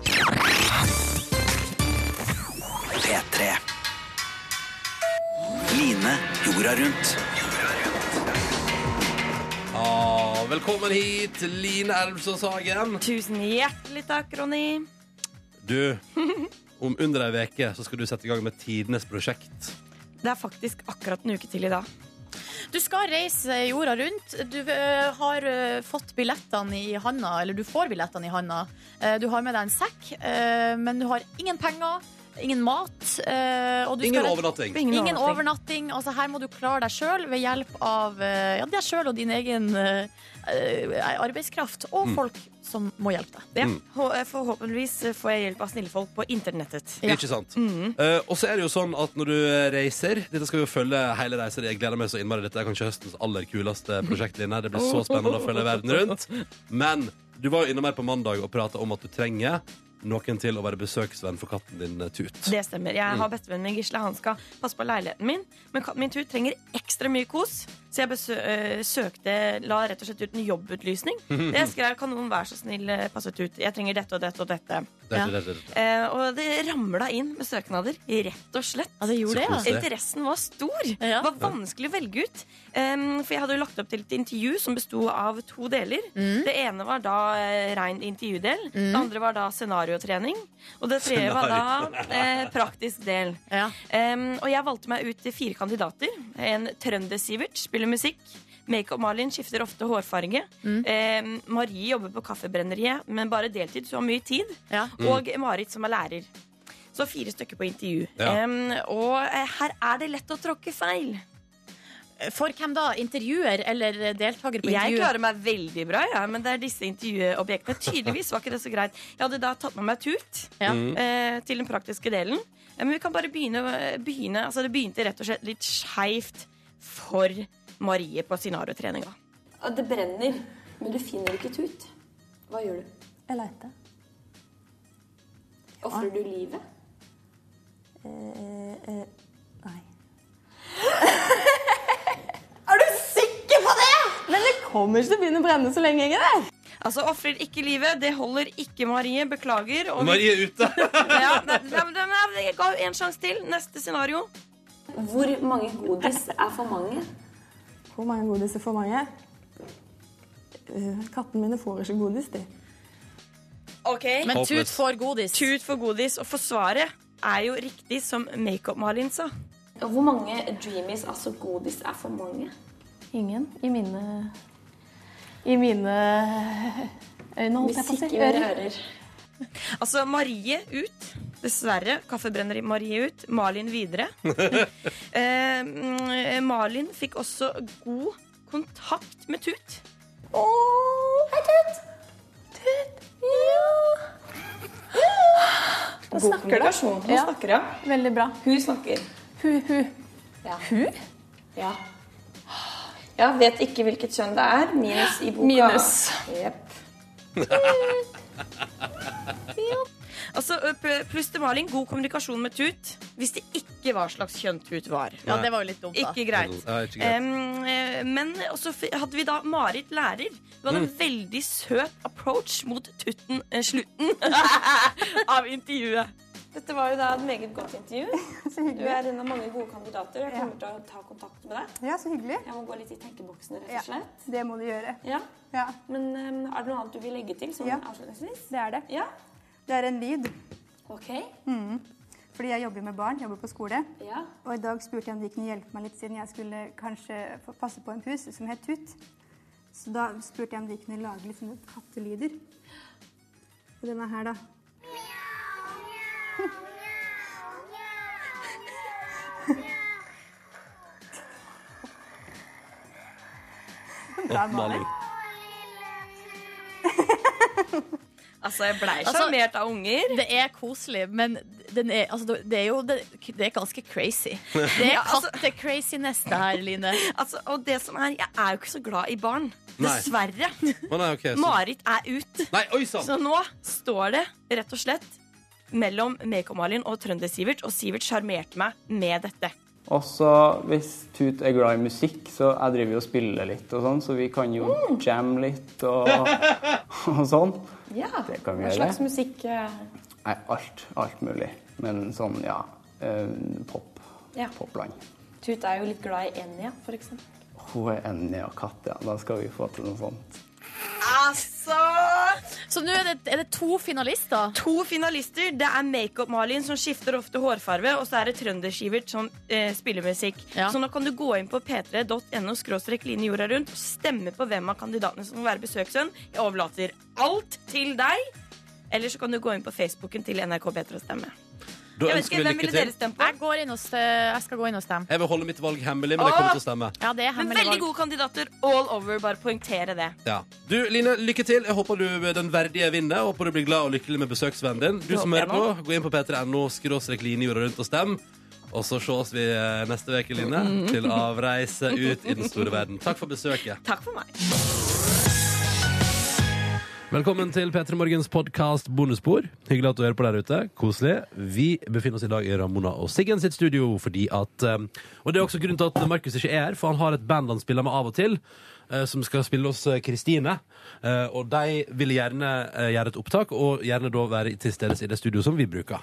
P3. Line jorda rundt. Ah, velkommen hit, Line Elvsås Hagen. Tusen hjertelig takk, Ronny. Du, om under ei uke så skal du sette i gang med tidenes prosjekt. Det er faktisk akkurat en uke til i dag. Du skal reise jorda rundt. Du eh, har eh, fått billettene i handa, eller du får billettene i handa. Eh, du har med deg en sekk, eh, men du har ingen penger. Ingen mat. eh, og du Ingen skal- overnatting. Ingen, Ingen overnatting. Altså, her må du klare deg sjøl ved hjelp av eh, ja, deg sjøl og din egen eh, eh, arbeidskraft. Og Mm. folk som må hjelpe deg. Ja. Mm. Hå- Forhåpentligvis får jeg hjelp av snille folk på internettet. Mm. Ikke sant? Eh, og så er det jo sånn at når du reiser Dette skal vi jo følge hele reisen. Jeg gleder meg så innmari. Dette er kanskje høstens aller kuleste prosjekt, Line. Det blir så spennende å følge verden rundt. Men du var jo innom her på mandag og prata om at du trenger noen til å være besøksvenn for katten din, eh, Tut. Det stemmer. Jeg Mm. har bestevennen min Gisle. Han skal passe på leiligheten min. Men katten min Tut trenger ekstra mye kos, så jeg besø øh, søkte La rett og slett ut en jobbutlysning. Jeg skrev 'Kan noen være så snill øh, passe Tut? Jeg trenger dette og dette og dette'. Det er ikke det, det er ikke det. Eh, og det ramla inn med søknader, rett og slett. Ja, det gjorde Så det, ja. koselig. Interessen var stor. Det var vanskelig å velge ut. Em, for jeg hadde jo lagt opp til et intervju som besto av to deler. Mm. Det ene var da eh, rein intervjudel. Det andre var da scenariotrening. Og det tredje var da eh, praktisk del. Em, og jeg valgte meg ut til fire kandidater. En trønder-Sivert spiller musikk. Make-up-Malin skifter ofte hårfarge. Em, Marie jobber på kaffebrenneriet, men bare deltid, så hun har mye tid. Mm. Og Marit, som er lærer. Så fire stykker på intervju. Ja. Em, og eh, her er det lett å tråkke feil. For hvem da? Intervjuer eller eh, deltaker på Jeg intervjuet? klarer meg veldig bra, ja, men det er disse intervjuobjektene. Tydeligvis var ikke det så greit. Jeg hadde da tatt med meg Tut Ja. eh, til den praktiske delen. Eh, Men vi kan bare begynne, begynne altså Det begynte rett og slett litt skeivt for Marie på scenariotreninga. Det brenner, men du finner ikke tut. Hva gjør du? Jeg leter. Ofrer du livet? Eh, nei. Er du sikker på det?! Men det kommer ikke til å begynne å brenne så lenge jeg er der. Altså, ofrer ikke livet. Det holder ikke, Marie. Beklager. Og vi- Marie er ute. ja, nei, nei, nei, nei, jeg ga jo en sjanse til. Neste scenario. Hvor mange godis er for mange? Hvor mange godis er for mange? Kattene mine får ikke godis, de. Men Tut Håpløst. får godis. Tut får godis, Og for svaret er jo riktig, som Makeup-Malin sa. Hvor mange dreamies, altså godis, er for mange? Ingen. I mine I mine eh, øyne, holdt jeg på å si. Musikk i mine ører. Altså, Marie ut. Dessverre. Kaffebrenner-Marie ut. Malin videre. Eh, mm, Malin fikk også god kontakt med Tut. Hei, Tut! Tut! Ja! Nå God snakker du. kommunikasjon. Nå snakker hun. Veldig bra. Hun snakker. Hun, hun. Ja. Hun? Ja. Jeg vet ikke hvilket kjønn det er. Minus i boka. Minus. Jep. Altså, ø, pl- Pluss til Malin, god kommunikasjon med Tut. Hvis det ikke var slags kjønn Tut var. Ja, det var jo litt dumt, da. Ikke greit. Ja, ikke greit. Em, eh, men også f- hadde vi da Marit lærer. Hun hadde en Mm. veldig søt approach mot tutten, eh, slutten av intervjuet. Dette var jo da et meget godt intervju. Du er en av mange gode kandidater. Jeg kommer til å ta kontakt med deg. Ja, så hyggelig. Jeg må gå litt i tenkeboksen, rett og slett. ehm, Det må du gjøre. Ja. Men um, er det noe annet du vil legge til? Som sånn avslutningsvis? Det er det. Ja. Det er en lyd. Ok. Mm. Fordi jeg jobber med barn, jobber på skole. Ja. Og i dag spurte jeg om de kunne hjelpe meg litt, siden jeg skulle kanskje få passe på en pus som het Tut. Så da spurte jeg om de kunne lage litt sånne kattelyder. Og denne her, da. Bra Oppmaling. Altså, jeg blei Altså, sjarmert av unger. Det er koselig, men den er, altså, det er jo det, det er ganske crazy. Det er Ja, altså- katte-craziness, det her, Line. Altså, og det som er, jeg er jo ikke så glad i barn. Nei. Dessverre. Å nei, ok, så- Marit er ut. Nei, oi sann! Så nå står det rett og slett mellom Mekom-Malin og Trønder-Sivert, og Sivert sjarmerte meg med dette. Og så hvis Tut er glad i musikk, så jeg driver jo og spiller litt og sånn, så vi kan jo Mm. jamme litt og, og sånn. Ja. Det kan vi Hva gjøre. slags musikk eh, Nei, alt. Alt mulig. Men sånn, ja. eh, Pop. Ja. Popland. Tut er jo litt glad i Enya, for eksempel. Hun er Enja og Katt, ja. Da skal vi få til noe sånt. Altså! Så nå er det, er det to finalister? To finalister. Det er Makeup-Malin som skifter ofte hårfarve, og så er det Trønder-Sivert som eh, spiller musikk. Så nå kan du gå inn på p3.no skråstrek line jorda rundt og stemme på hvem av kandidatene som må være besøksvenn. Jeg overlater alt til deg. Eller så kan du gå inn på Facebooken til NRK P3 og stemme. Da Jeg vet ønsker ikke, vi Hvem lykke ville dere til. stemt på? Jeg, går inn og, ste- eh, jeg skal gå inn og stemme. Jeg vil holde mitt valg hemmelig, men jeg kommer til å stemme. Ja, det er Men hemmelig veldig valg. gode kandidater all over. Bare poengtere det. Ja. Du, Line, lykke til. Jeg håper du er den verdige vinner. Håper du blir glad og lykkelig med besøksvennen din. Du Det som håper hører jeg på, gå inn på p3.no skråstrek Line jorda rundt og stem. Og så ses vi eh, neste uke, Line, Mhm. til avreise ut i den store verden. Takk for besøket. Takk for meg. Velkommen til P3 Morgens podkast Bonusspor. Hyggelig at du hører på der ute. Koselig. Vi befinner oss i dag i Ramona og Siggen sitt studio fordi at eh, Og det er også grunnen til at Markus ikke er her, for han har et band han spiller med av og til, eh, som skal spille hos eh, Kristine. Eh, Og de vil gjerne eh, gjøre et opptak, og gjerne da være til stede i det studioet som vi bruker.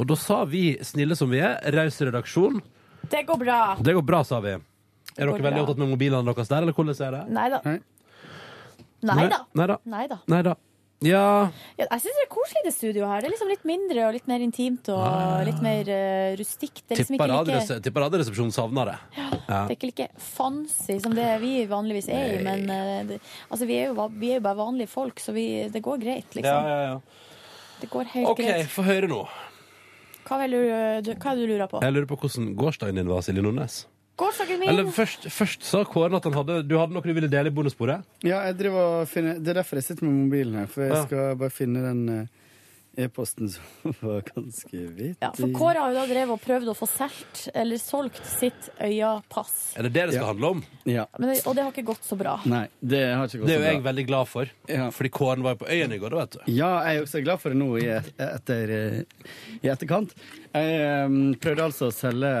Og da sa vi, snille som vi er, raus redaksjon. Det går bra. Det går bra, sa vi. Er går dere veldig bra. opptatt med mobilene deres der, eller hvordan er det? Nei da. Nei da. Nei da. Nei da. Nei da. Ja Ja, jeg syns det er koselig det studioet her. Det er liksom litt mindre og litt mer intimt og litt mer eh, rustikt. Det er liksom Tipper ikke like, radioresepsjonen savner det. Ja. det er ikke like fancy som det vi vanligvis er i, men eh, det, altså, vi, er jo, va- vi er jo bare vanlige folk, så vi, det går greit, liksom. Ja, ja, ja. Det går helt OK, greit. få høre nå. Hva er det du, hva er det du lurer på? Jeg lurer på hvordan gårsdagen din var, Silje Nordnes. Gårsdagen min? Eller først, først sa Kåren at han hadde, du hadde noe du ville dele i bonussporet. Ja, jeg driver og finner Det er derfor jeg sitter med mobilen her, for jeg Ja. skal bare finne den eh, e-posten som var ganske vittig. Ja, for Kåre har jo da drevet og prøvd å få solgt eller solgt sitt Øya-pass. Er det det det skal handle om? Ja. Men det- Og det har ikke gått så bra. Nei, det har ikke gått Det er så jo bra. jeg veldig glad for, fordi Kåren var jo på Øyen i går. da, vet du. Ja, jeg er også glad for det nå i, et- etter, eh, i etterkant. Jeg eh, prøvde altså å selge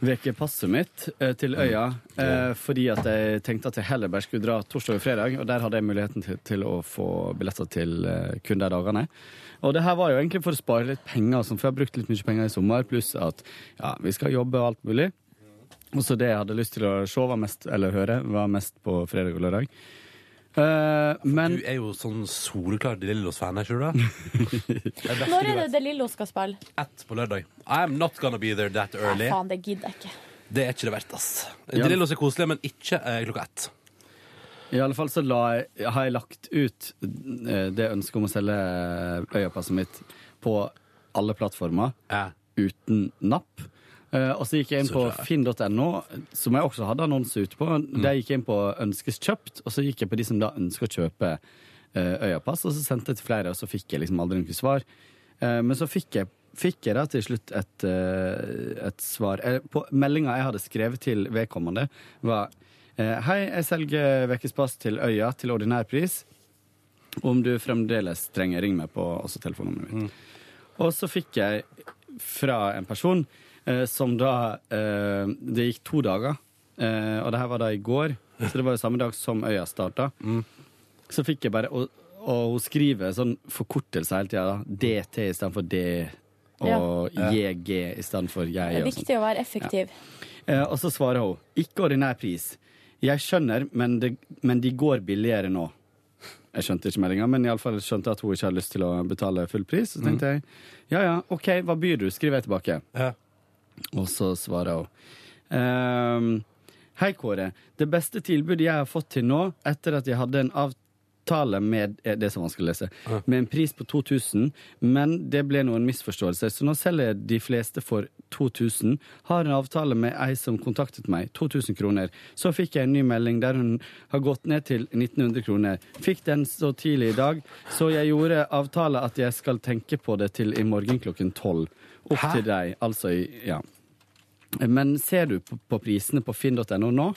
ukepasset mitt eh, til Mm. øya eh, fordi at jeg tenkte at jeg heller bare skulle dra torsdag og fredag, og der hadde jeg muligheten til, til å få billetter til eh, kun de dagene. Og det her var jo egentlig for å spare litt penger, og sånn, for jeg har brukt litt mye penger i sommer, pluss at ja, vi skal jobbe og alt mulig. Og så det jeg hadde lyst til å se var mest, eller høre, var mest på fredag og lørdag. Eh, men Du er jo sånn soleklar Lillos-fan, er ikke du det? Det er Når derfor er du det vet. det Lillo skal spille? Ett på lørdag. I'm not gonna be there that early. Faen, det gidder jeg ikke. Det er ikke det verdt, ass. Ja. Lillos er koselig, men ikke eh, klokka ett. I alle fall så la jeg, har jeg lagt ut eh, det ønsket om å selge eh, øyepasset mitt på alle plattformer uten napp. Eh, Og så gikk jeg inn Så på rart. finn.no, som jeg også hadde annonse ute på. Der gikk jeg inn på 'ønskes kjøpt', og så gikk jeg på de som da ønsker å kjøpe eh, øyapass. Og så sendte jeg til flere, og så fikk jeg liksom aldri noe svar. Eh, Men så fikk jeg, fikk jeg da til slutt et, eh, et svar. Eh, På meldinga jeg hadde skrevet til vedkommende, var eh, Hei, jeg selger ukespass til Øya til ordinær pris. Om du fremdeles trenger, ring meg på også telefonnummeret mitt. Og så fikk jeg fra en person eh, som da eh, Det gikk to dager, eh, og det her var da i går, så det var jo samme dag som øya starta. Så fikk jeg bare Og, og hun skriver sånn forkortelse hele tida. DT istedenfor D, og Ja. JG istedenfor jeg. Det er og sånn. viktig å være effektiv. Eh, Og så svarer hun Ikke ordinær pris Jeg skjønner, men, det, men de går billigere nå Jeg skjønte ikke meldinga, men iallfall skjønte jeg at hun ikke hadde lyst til å betale full pris. Så tenkte jeg ja ja, OK, hva byr du? Skriver jeg tilbake. Og så svarer hun ehm, Hei, Kåre. Det beste tilbudet jeg har fått til nå, etter at jeg hadde en avtale med eh, Det er så vanskelig å lese. Med en pris på 2000, men det ble noen misforståelser, så nå selger jeg de fleste for 2000. Har en avtale med ei som kontaktet meg. 2000 kroner. Så fikk jeg en ny melding der hun har gått ned til 1900 kroner. Fikk den så tidlig i dag, så jeg gjorde avtale at jeg skal tenke på det til i morgen klokken tolv. Opp til deg. Altså i Ja. Men ser du på, på prisene på finn.no nå?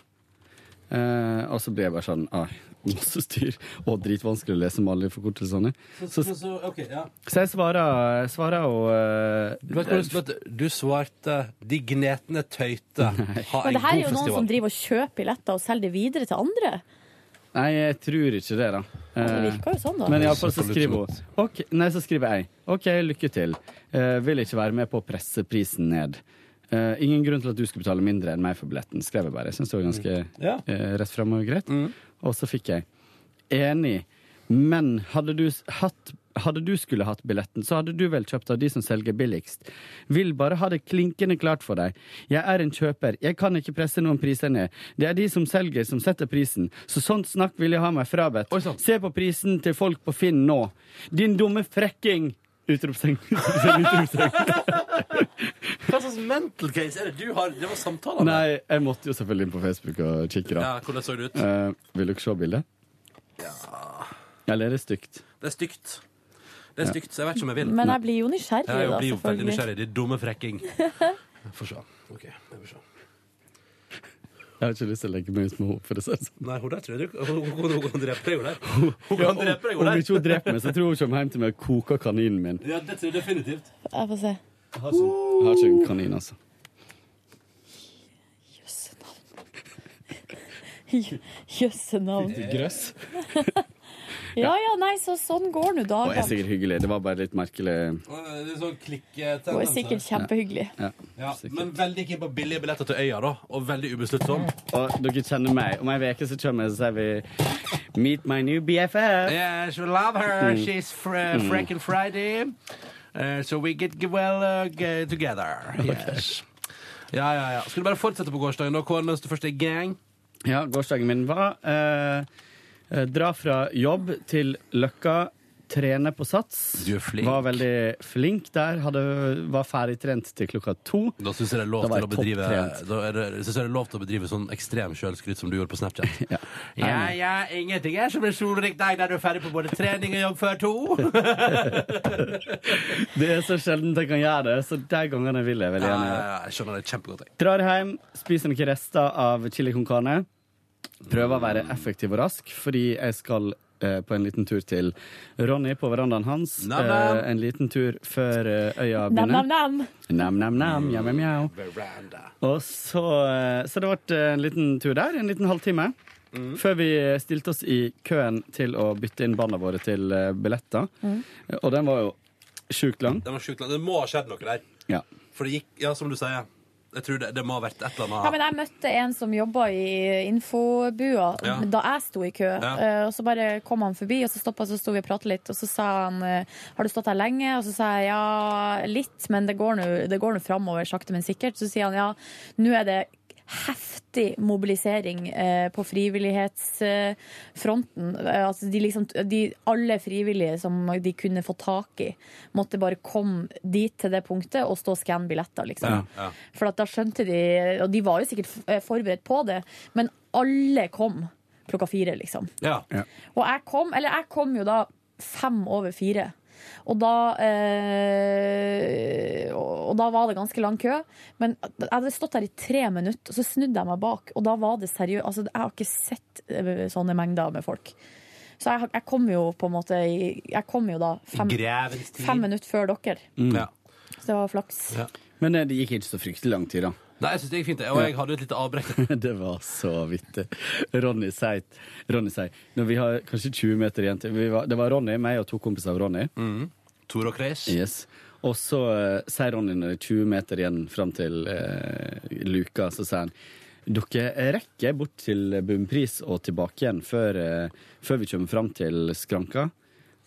Eh, og så blir jeg bare sånn ah, Masse styr og dritvanskelig å lese med alle de forkortelsene. Så, Men så, ok, ja. så jeg svarer, svarer og eh, Du vet hvordan- vet du- du svarte 'De gnetne tøyte'. Ha Men en det her er god jo noen som festival. driver og kjøper billetter og selger det videre til andre. Nei, jeg tror ikke det, da. Eh, det virker jo sånn, da. Men iallfall så skriver hun ok, Nei, så skriver jeg OK, lykke til. Eh, vil ikke være med på å presse prisen ned. Eh, ingen grunn til at du skulle betale mindre enn meg for billetten, skrev jeg bare. Jeg synes det var ganske Ja. eh, rett frem og greit. Og så fikk jeg enig, men hadde du, s- hatt, hadde du skulle hatt billetten, så hadde du vel kjøpt av de som selger billigst. Vil bare ha det klinkende klart for deg. Jeg er en kjøper, jeg kan ikke presse noen priser ned. Det er de som selger som setter prisen, så sånt snakk vil jeg ha meg frabedt. sånn. Se på prisen til folk på Finn nå. Din dumme frekking! Utropstegn. Hva slags mental case er det du har? Det var samtaler med. Nei, jeg måtte jo selvfølgelig inn på Facebook og kikke, da. Ja, hvordan så det ut? Eh, vil dere se bildet? Ja. Eller er det stygt? Det er stygt. Det er Ja. stygt, så jeg vet ikke om jeg vil. Men jeg blir jo nysgjerrig, Ja, jeg da, blir jo veldig Mm. selvfølgelig. nysgjerrig. De dumme frekking. Få se. Ok, jeg får se. Jeg har ikke lyst til å legge meg ut med henne, for å si det sånn. Nei, hun der tror jeg du Hun, hun, hun, hun dreper deg jo der. Hun Ja, kan om, drepe deg jo om der. ikke hun dreper meg, så tror jeg hun kommer hjem til meg og koker kaninen min. Ja, det tror jeg definitivt. sånn- Jeg får se. Jeg har ikke, jeg har ikke en kanin, altså. Jø- Jøsse navn. Litt grøss. Ja ja, nei, så sånn går Og nå er dagene. sikkert hyggelig. Det var bare litt merkelig. Det er sånn Hun er sikkert kjempehyggelig. Ja. Ja, men veldig keen på billige billetter til øya, da. Og veldig ubesluttsom. Og dere kjenner meg. Om ei uke så kommer jeg, så sier vi Meet my new BFF. Yes, we love her. Mm. She's fr Mm. Freaking Friday. Uh, so we get g- well uh, g- together. Yes. Ja, ja, ja. Skal du bare fortsette på gårsdagen, da, Kåre, mens du først er i gang? Ja, gårsdagen min var eh, eh, dra fra jobb til Løkka, trene på sats. Du er flink. Var veldig flink der. Hadde, var ferdig trent til klokka to. Da syns jeg det er lov Da til å var jeg bedrive topptrent. Da er det, synes jeg det er lov til å bedrive sånn ekstrem sjølskryt som du gjorde på Snapchat. ja. Ja, ja, ingenting er som en solrik dag der du er ferdig på både trening og jobb før to. Det er så sjelden jeg kan gjøre det, så de gangene vil jeg veldig Ja, gjerne ja, gjøre det. ja, jeg skjønner det kjempegodt. Jeg. Drar hjem, spiser noen rester av chili con carne. Prøver å være effektiv og rask, fordi jeg skal eh, på en liten tur til Ronny på verandaen hans. Nam, nam. Eh, en liten tur før eh, øya begynner. Nam-nam-nam. Nam-nam-nam. Mjau-mjau. Og så, eh, så det ble en liten tur der, en liten halvtime. Mm. Før vi stilte oss i køen til å bytte inn barna våre til eh, billetter. Og den var jo sjukt lang. Det, var sjukt, det må ha skjedd noe der. Ja. For det gikk, ja, som du sier, jeg tror det, det må ha vært et eller annet Ja, men jeg møtte en som jobba i infobua Ja. da jeg sto i kø. Ja. Eh, Og så bare kom han forbi, og så stoppa så sto vi og prata litt. Og så sa han eh, har du stått her lenge? Og så sa jeg ja, litt, men det går nå- det går nå framover sakte, men sikkert. Så sier han ja, nå er det heftig mobilisering eh, på frivillighetsfronten. Eh, fronten. eh, altså de liksom, de, alle frivillige som de kunne få tak i, måtte bare komme dit til det punktet og stå og skanne billetter, liksom. Ja, ja. For at da skjønte de, og de var jo sikkert eh, forberedt på det, men alle kom klokka fire, liksom. Og jeg kom, eller jeg kom jo da fem over fire. Og da, eh, og da var det ganske lang kø. Men jeg hadde stått der i tre minutter, og så snudde jeg meg bak. Og da var det seriøst. Altså, jeg har ikke sett eh, sånne mengder med folk. Så jeg, jeg kom jo på en måte i- Jeg kom jo da fem, Grevens tid. fem minutter før dere. Mm. Så det var flaks. Men eh, det gikk ikke så fryktelig lang tid, da. Nei, jeg synes det gikk fint, jeg, og jeg hadde et lite avbrekk. det var så vittig. Ronny sier Ronny sier, Når vi har kanskje 20 meter igjen til vi var, Det var Ronny, meg og to kompiser av Ronny. Mm. Tor og Kreis. Yes. Og så eh, sier Ronny når det er 20 meter igjen fram til eh, luka, så sier han dere rekker bort til bunnpris og tilbake igjen før, eh, før vi kommer fram til skranka.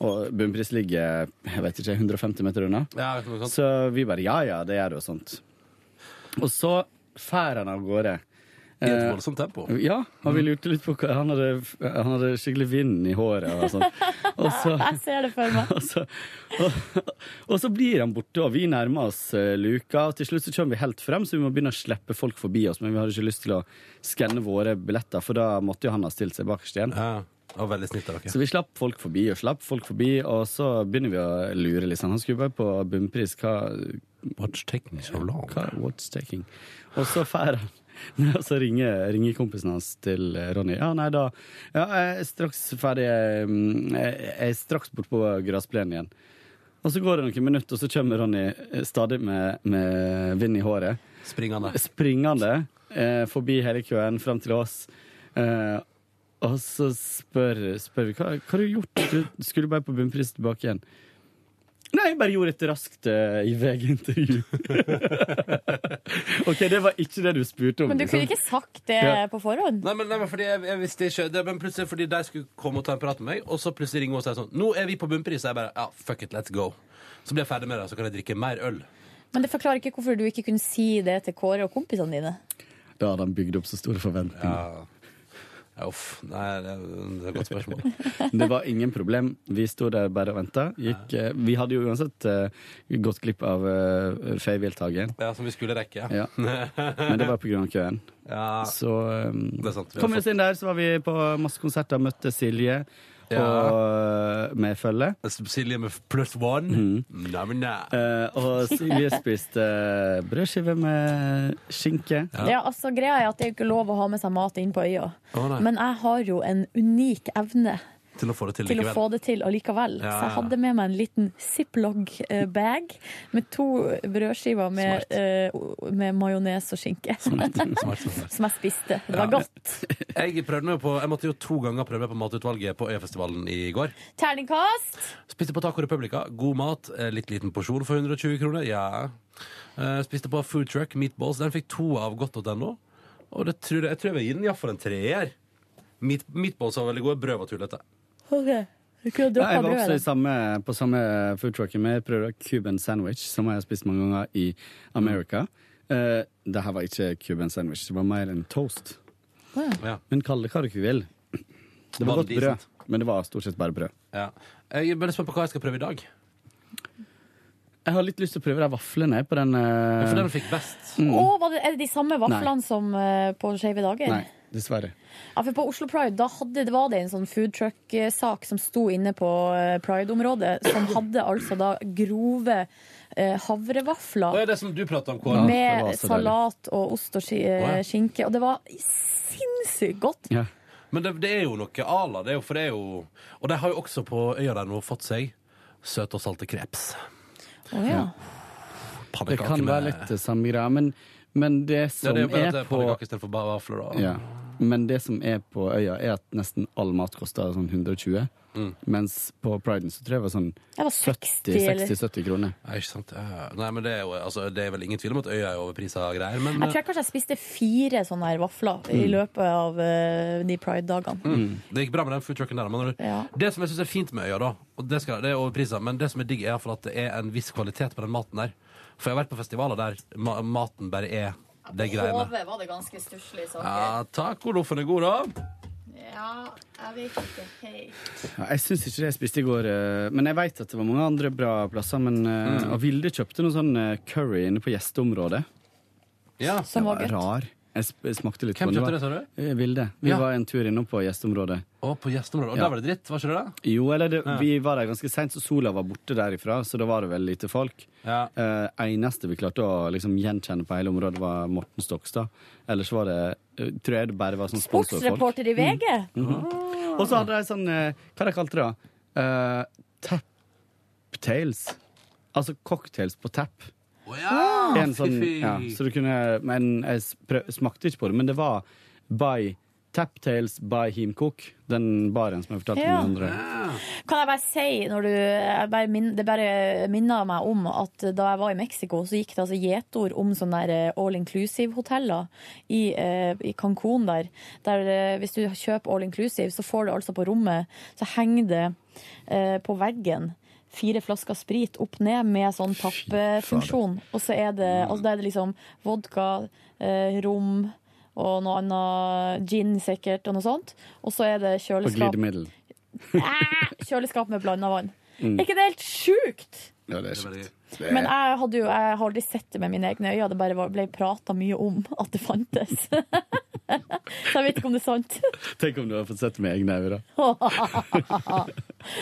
Og bunnpris ligger jeg vet ikke, 150 meter unna. Ja, noe sånt. så vi bare ja, ja, det gjør det, og sånt. Og så fær han av gårde. I et Eh, voldsomt tempo. Mm. Ja, og vi lurte litt på hva Han hadde, han hadde skikkelig vind i håret og sånn. Og så, Jeg ser det for meg. og, så, og, og så blir han borte, og vi nærmer oss eh, luka. Og til slutt så kommer vi helt frem, så vi må begynne å slippe folk forbi oss. Men vi hadde ikke lyst til å skanne våre billetter, for da måtte jo han ha stilt seg bakerst igjen. Så vi slapp folk forbi og slapp folk forbi, og så begynner vi å lure litt. sånn. Han skulle bare på bunnpris. Hva What's taking so long? Hva, what's taking? Og så fær han. Og så ringer, ringer kompisen hans til Ronny. Ja, nei da. Ja, jeg er straks ferdig. mm, Jeg jeg er straks borte på gressplenen igjen. Og så går det noen minutter, og så kommer Ronny eh, stadig med, med vind i håret. Springende. eh, forbi hele køen, fram til oss. Eh, og så spør, spør vi hva, hva har du gjort? Du skulle bare på bunnpris tilbake igjen. Nei, jeg bare gjorde et raskt eh, i VG-intervju. OK, det var ikke det du spurte om. Men du kunne liksom. ikke sagt det Ja. på forhånd? Nei, men, nei, men fordi jeg, jeg visste ikke det, Men plutselig fordi de skulle komme og ta en prat med meg, og så plutselig ringer hun og sier sånn Nå er vi på bunnpris. Og jeg bare ja, fuck it, let's go. Så blir jeg ferdig med det, så kan jeg drikke mer øl. Men det forklarer ikke hvorfor du ikke kunne si det til Kåre og kompisene dine. Da hadde han bygd opp så store forventninger. Ja, uff. Nei, det, det er et godt spørsmål. Det var ingen problem. Vi sto der bare og venta. Vi hadde jo uansett eh, gått glipp av uh, Faywill-tagen. Ja, Som vi skulle rekke. Ja. Men det var pga. køen. Ja. Så um, Det er sant. Vi har kom vi oss inn der, så var vi på masse konserter, møtte Silje og Ja. uh, med følge. Mhm. Silje med plus one. Nei, men nei. Eh, og Silje spiste eh, brødskive med skinke. Ja. altså Greia er at det er jo ikke lov å ha med seg mat inn på øya. Å, nei. Men jeg har jo en unik evne Til å få det til til å få det til allikevel. Ja, Så jeg ja. hadde med meg en liten ziplock-bag med to brødskiver med, eh, med majones og skinke. Som jeg spiste. Det var Ja. godt. Jeg, prøvde meg på, jeg måtte jo to ganger prøve meg på matutvalget på Øyafestivalen i går. Terningkast! Spiste på Taco Republica. God mat. eh, Litt liten porsjon for 120 kroner. Ja. Eh, Spiste på Food Truck Meatballs. Den fikk to av godt.no. Og det tror jeg, jeg tror jeg vil gi den iallfall en treer. Meat, meatballs var veldig gode. Brød var tullete. Ok, du kunne Ja, droppa jeg var også i brødet. samme, på samme foodtrucken med prøvde Cuban sandwich, som jeg har spist mange ganger i Amerika. Uh, det her var ikke Cuban sandwich, det var mer en toast. Ja. Men kall det hva dere vil. Det var Var det godt brød, decent? men det var stort sett bare brød. Ja. Eh, Jeg er veldig spent på hva jeg skal prøve i dag. Jeg har litt lyst til å prøve de vaflene på den. eh, For den fikk best. Mm. Å, var det, er det de samme vaflene som eh, på Skeive dager? Nei, dessverre. Ja, for På Oslo Pride da hadde, det var det en sånn food truck-sak som sto inne på eh, Pride-området, som hadde altså da grove eh, Og havrevafler er det som du prater om, Kåre? med salat og ost og ski- eh, skinke. Og det var sinnssykt godt. Men det, det er jo noe ala. Det er jo, for det er jo Og de har jo også på øya der nå fått seg søte og salte kreps. Å ja. Det Pannekaker kan med- være litt det samme greia, men, men det Ja, som det er jo bare at er det er på pannekaker istedenfor ba- vafler. da. Ja. Men det som er på øya, er at nesten all mat koster sånn 120. Mm. Mens på Priden så tror jeg det var sånn Det var 60, eller? 70-70 kroner. Nei, ikke sant. Ja. Nei, men det er jo altså, Det er vel ingen tvil om at øya er overprisa og greier, men Jeg tror jeg kanskje jeg spiste fire sånne her vafler i Mm. løpet av eh, de Pride-dagene. Mm. Det gikk bra med den foodtrucken der. Men det som jeg syns er fint med øya, da, og det, skal, det er overprisa, men det som er digg, er i hvert fall at det er en viss kvalitet på den maten der. For jeg har vært på festivaler der ma maten bare er det greiene. var det ganske stusslige Ja, Tacoloffen er god, da. Ja, jeg vet ikke helt. Ja, jeg syns ikke det jeg spiste i går, eh, men jeg veit at det var mange andre bra plasser. Men, eh, Mm. Og Vilde kjøpte noe sånn eh, curry inne på gjesteområdet. Ja. Som var godt. Rar. Jeg sp- jeg smakte litt Hvem på den. kjøpte Det det, sa var- du? Eh, Vilde. Vi Ja. var en tur innom på gjesteområdet. Og på gjesteområdet. Og Ja. der var det dritt, var ikke det det? Jo, eller det, Ja. vi var der ganske seint, så sola var borte derifra, så da var det vel lite folk. Ja. Eh, eneste vi klarte å liksom, gjenkjenne på hele området, var Morten Stokstad. Ellers var det eh, Tror jeg det bare var sånn sponsorfolk. Sportsreporter i VG. Mm. Mhm. Ah. Og så hadde de sånn eh, Hva de kalte det? da? Eh, Taptails. Altså cocktails på tap. Ah, sånn, En sånn, ja, så du kunne, men jeg s- prøv, smakte ikke på det, men det var by Taptails by Himcook. Den baren som jeg fortalte Ja. Ah. om. den andre. Kan jeg bare si, når du, jeg bare min, det bare minner meg om at da jeg var i Mexico, så gikk det altså gjetord om sånne der eh, all inclusive-hoteller i, eh, i Cancún der. der eh, hvis du kjøper all inclusive, så får du altså på rommet, så henger det eh, på veggen fire flasker sprit opp ned med sånn tappefunksjon. Og så er det, Mm. altså, da er det liksom vodka, eh, rom og noe annet, gin sikkert, og noe sånt. Og så er det Og kjøleskap. glidemiddel. Kjøleskap med blanda vann. Mm. Er ikke det helt sjukt? Ja, det er sjukt. Det er- Men jeg, hadde jo, jeg har aldri sett det med mine egne øyne. Det bare var- ble prata mye om at det fantes. Så jeg vet ikke om det er sant. Tenk om du hadde fått sett det med egne øyne, da.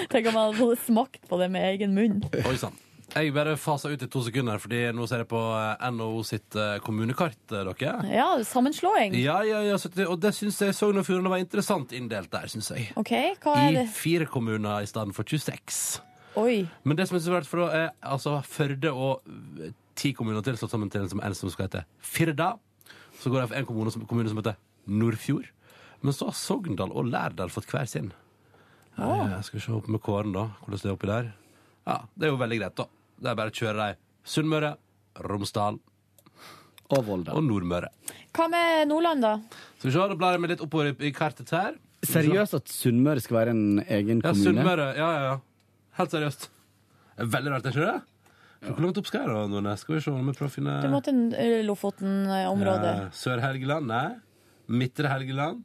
Tenk om jeg hadde fått smakt på det med egen munn. Oi sann. Jeg bare fasa ut i to sekunder, Fordi nå ser jeg på eh, NHO sitt eh, kommunekart, eh, dere. Ja, sammenslåing. Ja, ja, ja, så det, og det syns jeg Sogn og Fjordane var interessant inndelt der, syns jeg. OK, hva er I det? fire kommuner i stedet for 26. Oi. Men det som er så svært, for da er altså Førde og eh, ti kommuner til slått sammen til en som, en som skal hete Firda. Så går jeg for en kommune som, kommune som heter Nordfjord. Men så har Sogndal og Lærdal fått hver sin. Ah. Eh, skal vi se opp med Kåren, da. Hvordan det er oppi der. Ja, Det er jo veldig greit, da. Det er bare å kjøre de. Sunnmøre, Romsdal Og Volda. Og Nordmøre. Hva med Nordland, da? Skal vi se, da blar jeg meg litt oppover i, i kartet her. Skal vi se. Seriøst at Sunnmøre skal være en egen Ja, kommune? Sunnmøre. Ja, ja, ja. Helt seriøst. Det er Veldig rart, er ikke det? Hvor langt opp skal jeg da, Nordnes? Skal vi se om vi prøver å finne Du må til eh, Lofoten-området. Eh, Sør-Helgeland, nei. Midtre Helgeland.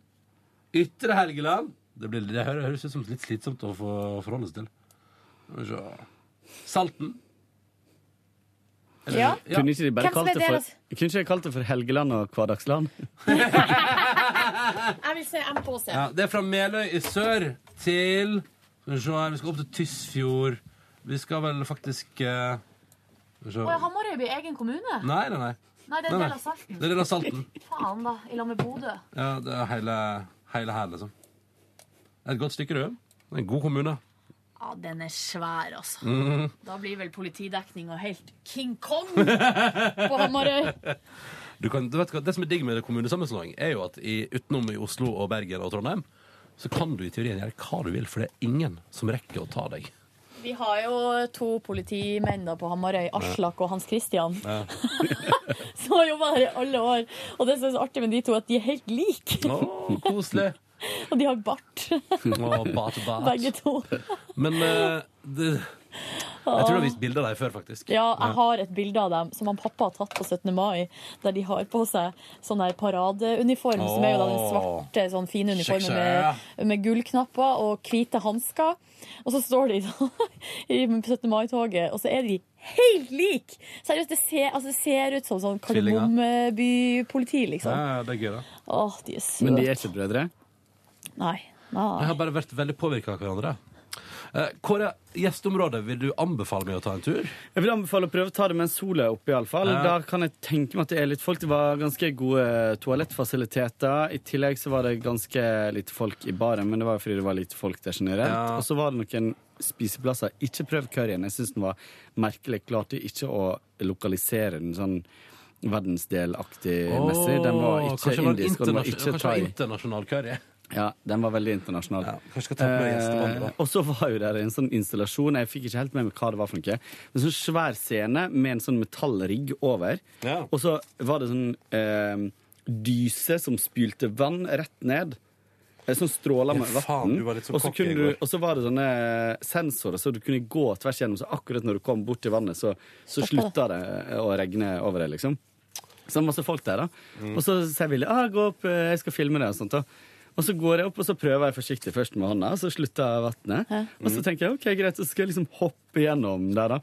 Ytre Helgeland. Det, blir, det hø- høres ut som litt slitsomt å få å forholde seg til. Skal vi se. Salten. Ja. Kunne ikke de bare Hvem som kalt er det for, deres- kunne ikke de kalt det for Helgeland og Hverdagsland? Jeg vil se MKC. Ja, det er fra Meløy i sør til Skal vi se her, vi skal opp til Tysfjord. Vi skal vel faktisk eh, Skal vi se. Og Hamarøy blir egen kommune? Nei, nei, nei. Nei, det er en del av Salten. Det er en del av Salten. Faen, da. I lag med Bodø. Ja, det er hele, hele her, liksom. Det er et godt stykke, du. Det er en god kommune. Ja, den er svær, altså. Mhm. Da blir vel politidekninga helt King Kong på Hamarøy. Du kan, du vet hva, det som er digg med kommunesammenslåing, er jo at i, utenom i Oslo og Bergen og Trondheim, så kan du i teorien gjøre hva du vil, for det er ingen som rekker å ta deg. Vi har jo to politimenn da på Hamarøy, Aslak og Hans Christian. Ja. som har jobba her i alle år. Og det som er så artig med de to, er at de er helt like. koselig. og de har bart. Å, bart, bart. Begge to. Men eh, det, jeg tror du har vist bilder av deg før, faktisk. Ja, jeg har et bilde av dem som han pappa har tatt på 17. mai, der de har på seg sånn her paradeuniform, som er jo da den Åh. svarte, sånn fine uniformen Sexy. med, med gullknapper og hvite hansker. Og så står de da i 17. mai-toget, og så er de helt like! Seriøst, det ser, altså, det ser ut som sånn Tvillinger. Kardemommeby-politi, liksom. Ja, det er gøy, da. Åh, de er søte. Men de er ikke brødre? Nei. Jeg Nei. har bare vært veldig påvirka av hverandre. Eh, Kåre, gjestområdet, vil du anbefale meg å ta en tur? Eh, Jeg vil anbefale å prøve å ta det med en sol opp, iallfall. Ja. Da kan jeg tenke meg at det er litt folk. Det var ganske gode eh, toalettfasiliteter. I tillegg så var det ganske lite folk i baren, men det var jo fordi det var lite folk der generelt. Ja. Og så var det noen spiseplasser. Ikke prøv curryen. Jeg syns den var merkelig. Klarte ikke å lokalisere den sånn verdensdelaktig messig. Den var Åh, ikke kanskje det var en indisk, og den var internasjon- ikke kanskje det var thai. internasjonal curry. Ja, den var veldig internasjonal. kanskje jeg skal ta med gjestemann, da. Eh, og så var jo der en sånn installasjon, jeg fikk ikke helt med meg hva det var for noe, en sånn svær scene med en sånn metallrigg over, og så var det sånn eh, dyse som spylte vann rett ned, Eh, Sånn stråler med Ja, faen, vann. du var litt så og, så cocky i kunne du- går. og så var det sånne eh, sensorer, så du kunne gå tvers gjennom. Så akkurat når du kom bort til vannet, så, så Stoppa det. slutta det eh, å regne over deg, liksom. Så det er masse folk der, da. Og så sier Willy ah, 'gå opp, eh, jeg skal filme det', og sånt. da. Og så går jeg opp og så prøver jeg forsiktig først med hånda, så slutter vannet. Og så tenker jeg ok, greit, så skal jeg liksom hoppe gjennom der, da.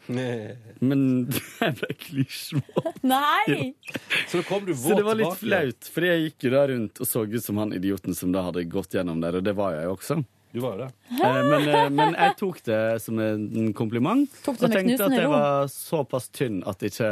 Men jeg ble klissvåt. Nei! Så da kom du Så våt det var litt tilbake. flaut, fordi jeg gikk jo da rundt og så ut som han idioten som da hadde gått gjennom der, og det var jeg jo også. Du var jo det. Eh, Men, eh, men jeg tok det som en kompliment. Tok du og det med tenkte at knusende jeg ro? var såpass tynn at ikke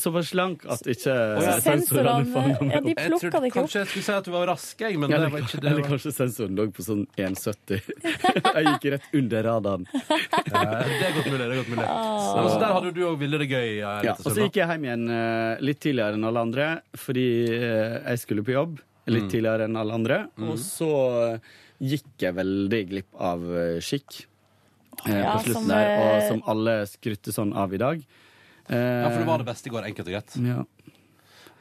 Såpass slank at ikke ja. sensorene fanga meg opp. Jeg trodde Kanskje jeg skulle si at du var rask, jeg, men det Eller, var ikke det. eller kanskje sensoren lå på sånn 1,70. jeg gikk rett under radaren. Ja, det er godt mulig. det er godt mulig Ah. Men altså, Der hadde du òg Ville det gøy. eh, Ja, Rita og så Sundberg. gikk jeg hjem igjen eh, litt tidligere enn alle andre, fordi eh, jeg skulle på jobb. Litt Mm. tidligere enn alle andre. Mm. Og så gikk jeg veldig glipp av eh, skikk eh, Ja, på slutten som, der, og eh, som alle skrytte sånn av i dag. Ja, for det var det beste i går, enkelt og greit. eh, Ja.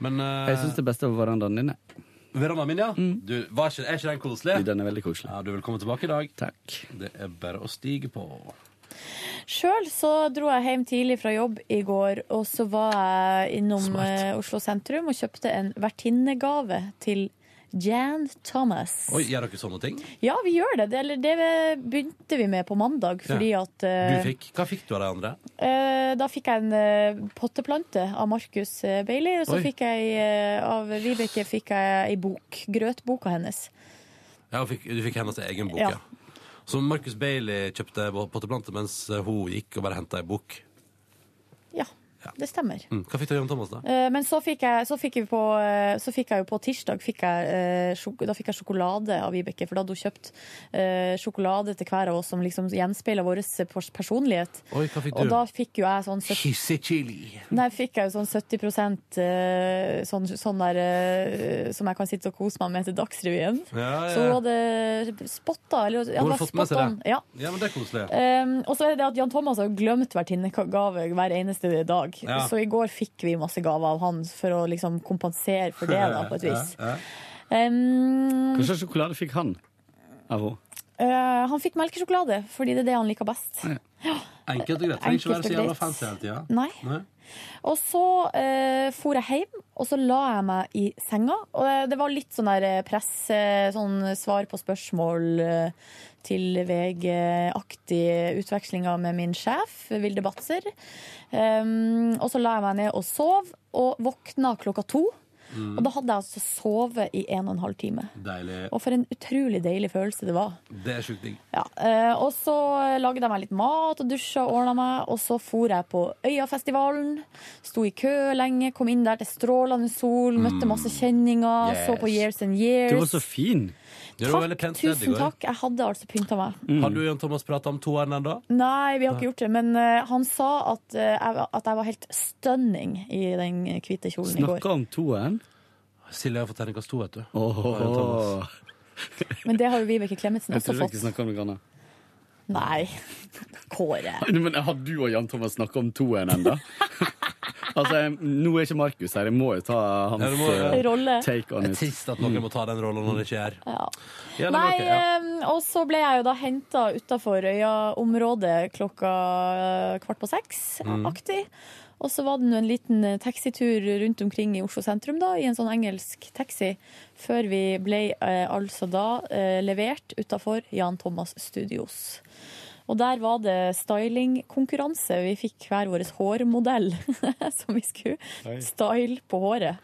Men eh, Jeg syns det beste var verandaen din. jeg. Verandaen min, ja. Du, var ikke, er ikke den koselig? Mm. Den er veldig koselig. Ja, du er velkommen tilbake i dag. Takk. Det er bare å stige på. Sjøl så dro jeg hjem tidlig fra jobb i går, og så var jeg innom eh, Oslo sentrum og kjøpte en vertinnegave til Jan Thomas. Oi, gjør dere sånne ting? Ja, vi gjør det. Det, eller, det begynte vi med på mandag, fordi Ja. at eh, Du fikk, Hva fikk du av de andre? Eh, da fikk jeg en eh, potteplante av Markus eh, Bailey, og så Oi. fikk jeg eh, av Vibeke fikk jeg ei bok. Grøtboka hennes. Ja, hun fikk, Du fikk hennes egen bok, Ja. ja. Så Marcus Bailey kjøpte potteplante mens eh, hun gikk og bare henta ei bok. Det stemmer. Mm. Hva fikk du av Jan Thomas, da? Eh, Men så fikk jeg, så fikk vi på, eh, så fikk jeg jo på tirsdag fikk jeg, eh, sjok- Da fikk jeg sjokolade av Vibeke, for da hadde hun kjøpt eh, sjokolade til hver av oss som liksom gjenspeiler vår pers- personlighet. Oi, hva fikk du? Og da fikk jo jeg sånn søt- Kissechili. Nei, fikk jeg jo sånn 70 eh, sånn, sånn der eh, som jeg kan sitte og kose meg med til Dagsrevyen. Ja, ja, Så hun ja. hadde spotta eller, ja, Hun det hadde var fått med seg spot on, det. Ja. ja, men det er koselig. Um, og så er det det at Jan Thomas har jo glemt vertinnegave hver eneste dag. Ja. Så i går fikk vi masse gaver av han for å liksom kompensere for det, da, på et vis. Ja, ja. Um, Hva slags sjokolade fikk han av henne? eh, han fikk melkesjokolade, fordi det er det han liker best. Enkelt og greit. Trenger ikke Enkelt være så og jævla greit. fancy hele tida. Nei. Og så eh, for jeg hjem, og så la jeg meg i senga. Og eh, det var litt sånn der eh, press, eh, sånn svar på spørsmål eh, til VG-aktig utvekslinger med min sjef, Vilde Batzer. Um, og så la jeg meg ned og sov, og våkna klokka to. Mm. Og da hadde jeg altså sovet i en og en halv time. Deilig. Og for en utrolig deilig følelse det var. Det er sjukt digg. Ja, eh, og så lagde jeg meg litt mat og dusja og ordna meg, og så for jeg på Øyafestivalen. Sto i kø lenge, kom inn der til strålende sol, møtte masse kjenninger, Mm. Yes. så på Years and Years. Du var så fin! Det var veldig pent ned i Tusen går. takk, jeg hadde altså pynta meg. Har du og Jan Thomas prata om toeren ennå? Nei, vi har Nei. ikke gjort det, men eh, han sa at, eh, jeg, var- at jeg var helt stunning i den hvite kjolen i går. Snakka om toeren. Silje har fått terningkast to, vet du. Åh. Jan Thomas. Men det har jo Vibeke Klemetsen Jeg også trodde fått. ikke snakka om noe annet. Nei. Kåre. Men har du og Jan Thomas snakka om toeren ennå? altså, jeg- nå er ikke Markus her, jeg må jo ta hans Ja, du må- eh, Rolle. take on Det er it. Mm. trist at noen må ta den rollen når det ikke er. Ja. Ja, nei, Nei, men ok, ja. eh, og så ble jeg jo da henta utafor Øya-området klokka eh, kvart på Mm. seks-aktig. Og så var det nå en liten eh, taxitur rundt omkring i Oslo sentrum, da, i en sånn engelsk taxi, før vi ble eh, altså da eh, levert utafor Jan Thomas Studios. Og der var det stylingkonkurranse. Vi fikk hver vår hårmodell som vi Oi. skulle style på håret.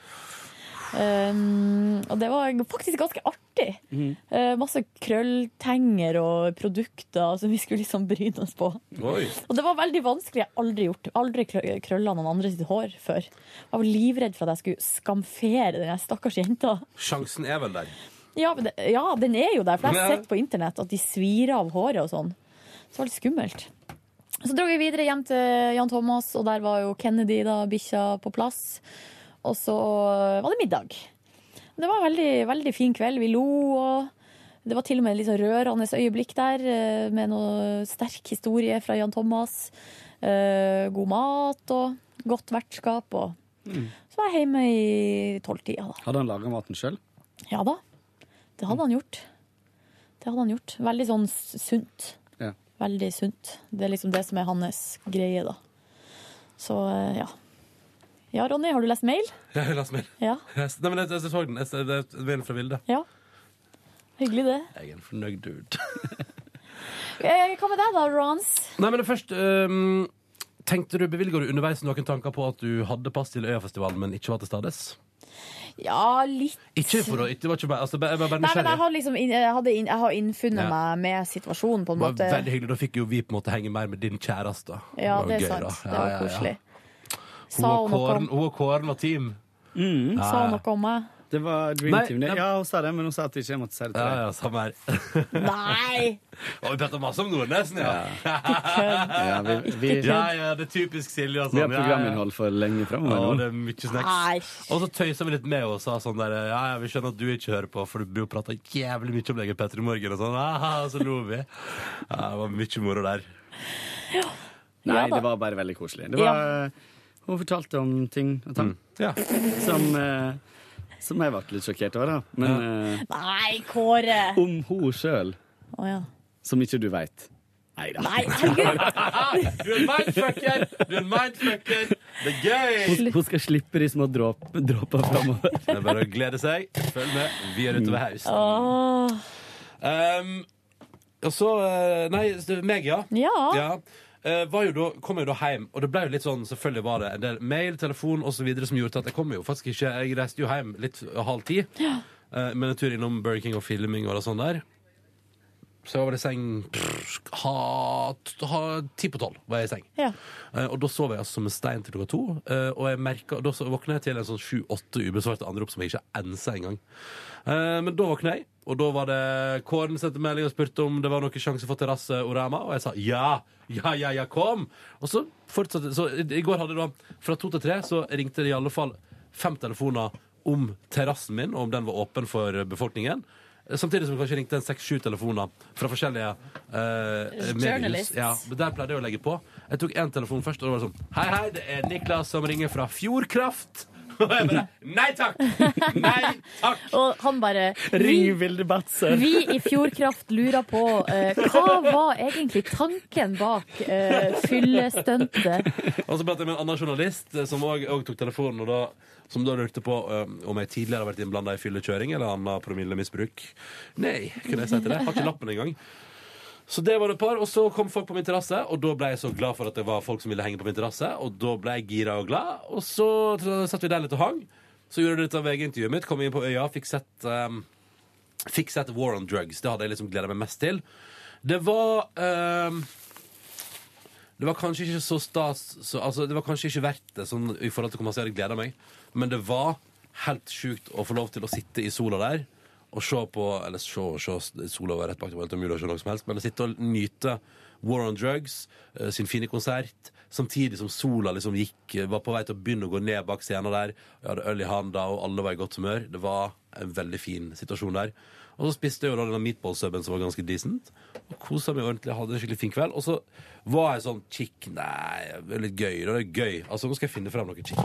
Um, og det var faktisk ganske artig. Mhm. Eh, masse krølltenger og produkter som vi skulle liksom bryne oss på. Oi. Og det var veldig vanskelig. Jeg har aldri, gjort, aldri krø- krølla noen andre sitt hår før. Jeg var livredd for at jeg skulle skamfere den her stakkars jenta. Sjansen er vel der. Ja, men det, ja, den er jo der, for jeg har Ja. sett på internett at de svir av håret og sånn. Så det var litt skummelt. Så dro vi videre hjem til Jan Thomas, og der var jo Kennedy, da, bikkja, på plass. Og så var det middag. Det var en veldig, veldig fin kveld. Vi lo og det var til og med et litt sånn rørende øyeblikk der, eh, med noe sterk historie fra Jan Thomas. Eh, God mat og godt vertskap. Og Mm. så var jeg hjemme i tolvtida, da. Hadde han laga maten sjøl? Ja da. Det hadde han gjort. Det hadde han gjort. Veldig sånn s- sunt. Ja. Veldig sunt. Det er liksom det som er hans greie, da. Så eh, ja. Ja, Ronny, har du lest mail? Ja, jeg leste mail. Ja. Jeg s- Nei, men jeg, jeg så den. Jeg, s- det er mail fra Vilde. Ja. Hyggelig, det. Jeg er en fornøyd dude. Eh, Hva med deg, da, Rons? Nei, men det først ehm, Tenkte du, Bevilger du underveis noen tanker på at du hadde pass til Øyafestivalen, men ikke var til stades? Ja, litt. Ikke for å ikke, det var ikke bare, altså, jeg var Nei, bare men jeg nysgjerrig. har liksom inn- jeg hadde inn, jeg har innfunnet Ja. meg med situasjonen, på Det en var måte. veldig hyggelig. Da fikk jo vi på en måte henge mer med din kjæreste. Ja, var jo det er gøy, sant. da. Det var koselig. Hun Sa og hun noe Kåren, om, hun og Kåren var team. Ja, sa ja. hun noe om meg? Det var Dream Nei, Team. Det. nei. Ja, hun sa det, men hun sa at ikke jeg måtte si det til deg. Ja, ja, samme her. Nei! Og vi prater masse om Nordnesen, ja. Ja, vi- vi- ja, ja, det er typisk Silje. og Vi har sånn. Ja, ja. programinnhold for lenge framover Å, nå. det er mye snacks. Og så tøysa vi litt med og sa sånn der Ja, ja, vi skjønner at du ikke hører på, for du blir jo prata jævlig mye om deg i Petter i morgen, og sånn. Aha, så lo vi. Ja, det var mye moro der. Nei, Ja da. det var bare veldig koselig. Det var, eh, Hun fortalte om ting og Mm. tang som, eh, som jeg ble litt sjokkert over, da. Men eh, Nei, Kåre! om hun sjøl, Å ja. som ikke du veit. Nei, herregud! Du er en mindfucker! Du er en mindfucker! Det er Hun, gøy! hun skal slippe de små dråp- dråpene framover. Det er bare å glede seg. Følg med. Vi er utover hausen. Um, og så eh, Nei, det er meg, ja. Ja. Eh, var jo da, kom jeg da hjem, og det ble jo litt sånn, selvfølgelig var det en del mail, telefon og så videre som gjorde at jeg kom jo faktisk ikke Jeg reiste jo hjem litt halv ti, eh, med en tur innom Burger King og filming og det sånn der. Så jeg var vel i seng pff, ha, ha, ti på tolv. var jeg i seng. Eh, og da sov jeg altså som en stein til klokka to. eh, og jeg merket, da så- våkna jeg til en sånn sju-åtte ubesvarte anrop som jeg ikke ensa engang. Eh, men da våkna jeg, og da var det Kåren sendte melding og spurte om det var noen sjanse for terrasse Orama, og jeg sa ja. Ja, ja, ja, kom! Og så fortsatte Så i i går hadde jeg da Fra to til tre så ringte det i alle fall fem telefoner om terrassen min, og om den var åpen for befolkningen. Samtidig som det kanskje ringte en seks-sju telefoner fra forskjellige eh, mediehus. Journalists. Ja, men der pleide jeg å legge på. Jeg tok én telefon først, og det var sånn Hei, hei, det er Niklas som ringer fra Fjordkraft. Og jeg bare Nei takk! Og han bare Ring Vi, Vilde Batzer. vi i Fjordkraft lurer på eh, hva var egentlig tanken bak eh, fyllestuntet? Og så pratet jeg med en annen journalist eh, som òg tok telefonen, og da, som da lurte på eh, om jeg tidligere har vært innblanda i fyllekjøring eller annet promillemisbruk. Nei, kunne jeg si til det. Har ikke lappen engang. Så det var det et par, og så kom folk på min terrasse, og da ble jeg så glad for at det var folk som ville henge på min terrasse, og da ble jeg gira og glad, og så t- satt vi der litt og hang. Så gjorde jeg litt av VG-intervjuet mitt, kom inn på øya, fikk sett, ehm, fikk sett War on Drugs. Det hadde jeg liksom gleda meg mest til. Det var ehm, det var kanskje ikke så stas så, altså, Det var kanskje ikke verdt det sånn, i forhold til hvor masse jeg hadde gleda meg. Men det var helt sjukt å få lov til å sitte i sola der og se på Eller se, se sola var rett bak det var helt umulig å se noe som helst, men å sitte og nyte War on Drugs, eh, sin fine konsert, samtidig som sola liksom gikk eh, var på vei til å begynne å gå ned bak scenen der. Jeg hadde øl i handa, og alle var i godt humør. Det var en veldig fin situasjon der. Og så spiste jeg jo da denne meatball-suben som var ganske decent. Og kosa meg ordentlig, hadde en skikkelig fin kveld. Og så var jeg sånn Kikk, nei, det er litt gøy. Det er gøy. Altså, nå skal jeg finne fram noe kikk.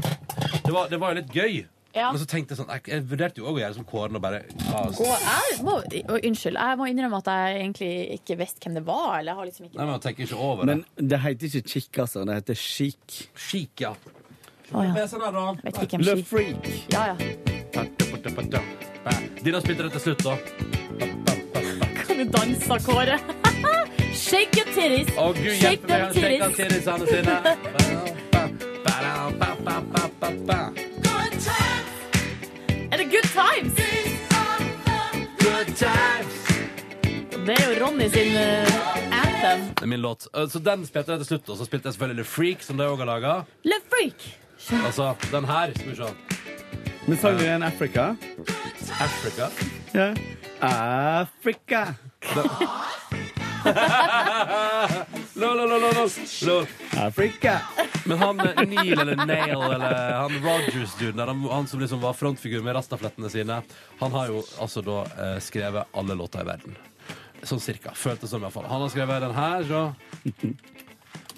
Det var, det var jo litt gøy. Ja. Men så altså- tenkte jeg sånn Jeg, jeg vurderte jo òg å gjøre som Kåren og bare "Ah, ja, Og jeg må, og unnskyld, jeg må innrømme at jeg egentlig ikke visste hvem det var. Eller jeg har liksom ikke Nei, men jeg tenker ikke over det. Men det heter ikke kikk, altså. Det heter chic. Chic, ja. Å, ja. Men sånn er det da. Vet ikke hvem Le Chic- Freak. Ja, ja. Dina spilte det til slutt, da. Kan du danse, Kåre? Shake your titties! Å, Gud Shake hjelpe meg, han them shaker tittiesene sine. Er det good times? Det er jo Ronny sin eh, anthem. Det er min låt. Eh, Så den spilte jeg til slutt, og så spilte jeg selvfølgelig The Freak, som de òg har laga. Le freak! Altså, den her. Skal vi se. Men sang du igjen Africa? Africa. Ja. Africa. Lo, lo, lo, lo, lo. Lo. Men han eh, Neil eller Nail eller han Rogers-duden, han, han som liksom var frontfigur med rastaflettene sine, han har jo altså da eh, skrevet alle låter i verden. Sånn cirka. Føltes som, iallfall. Han har skrevet den her, så.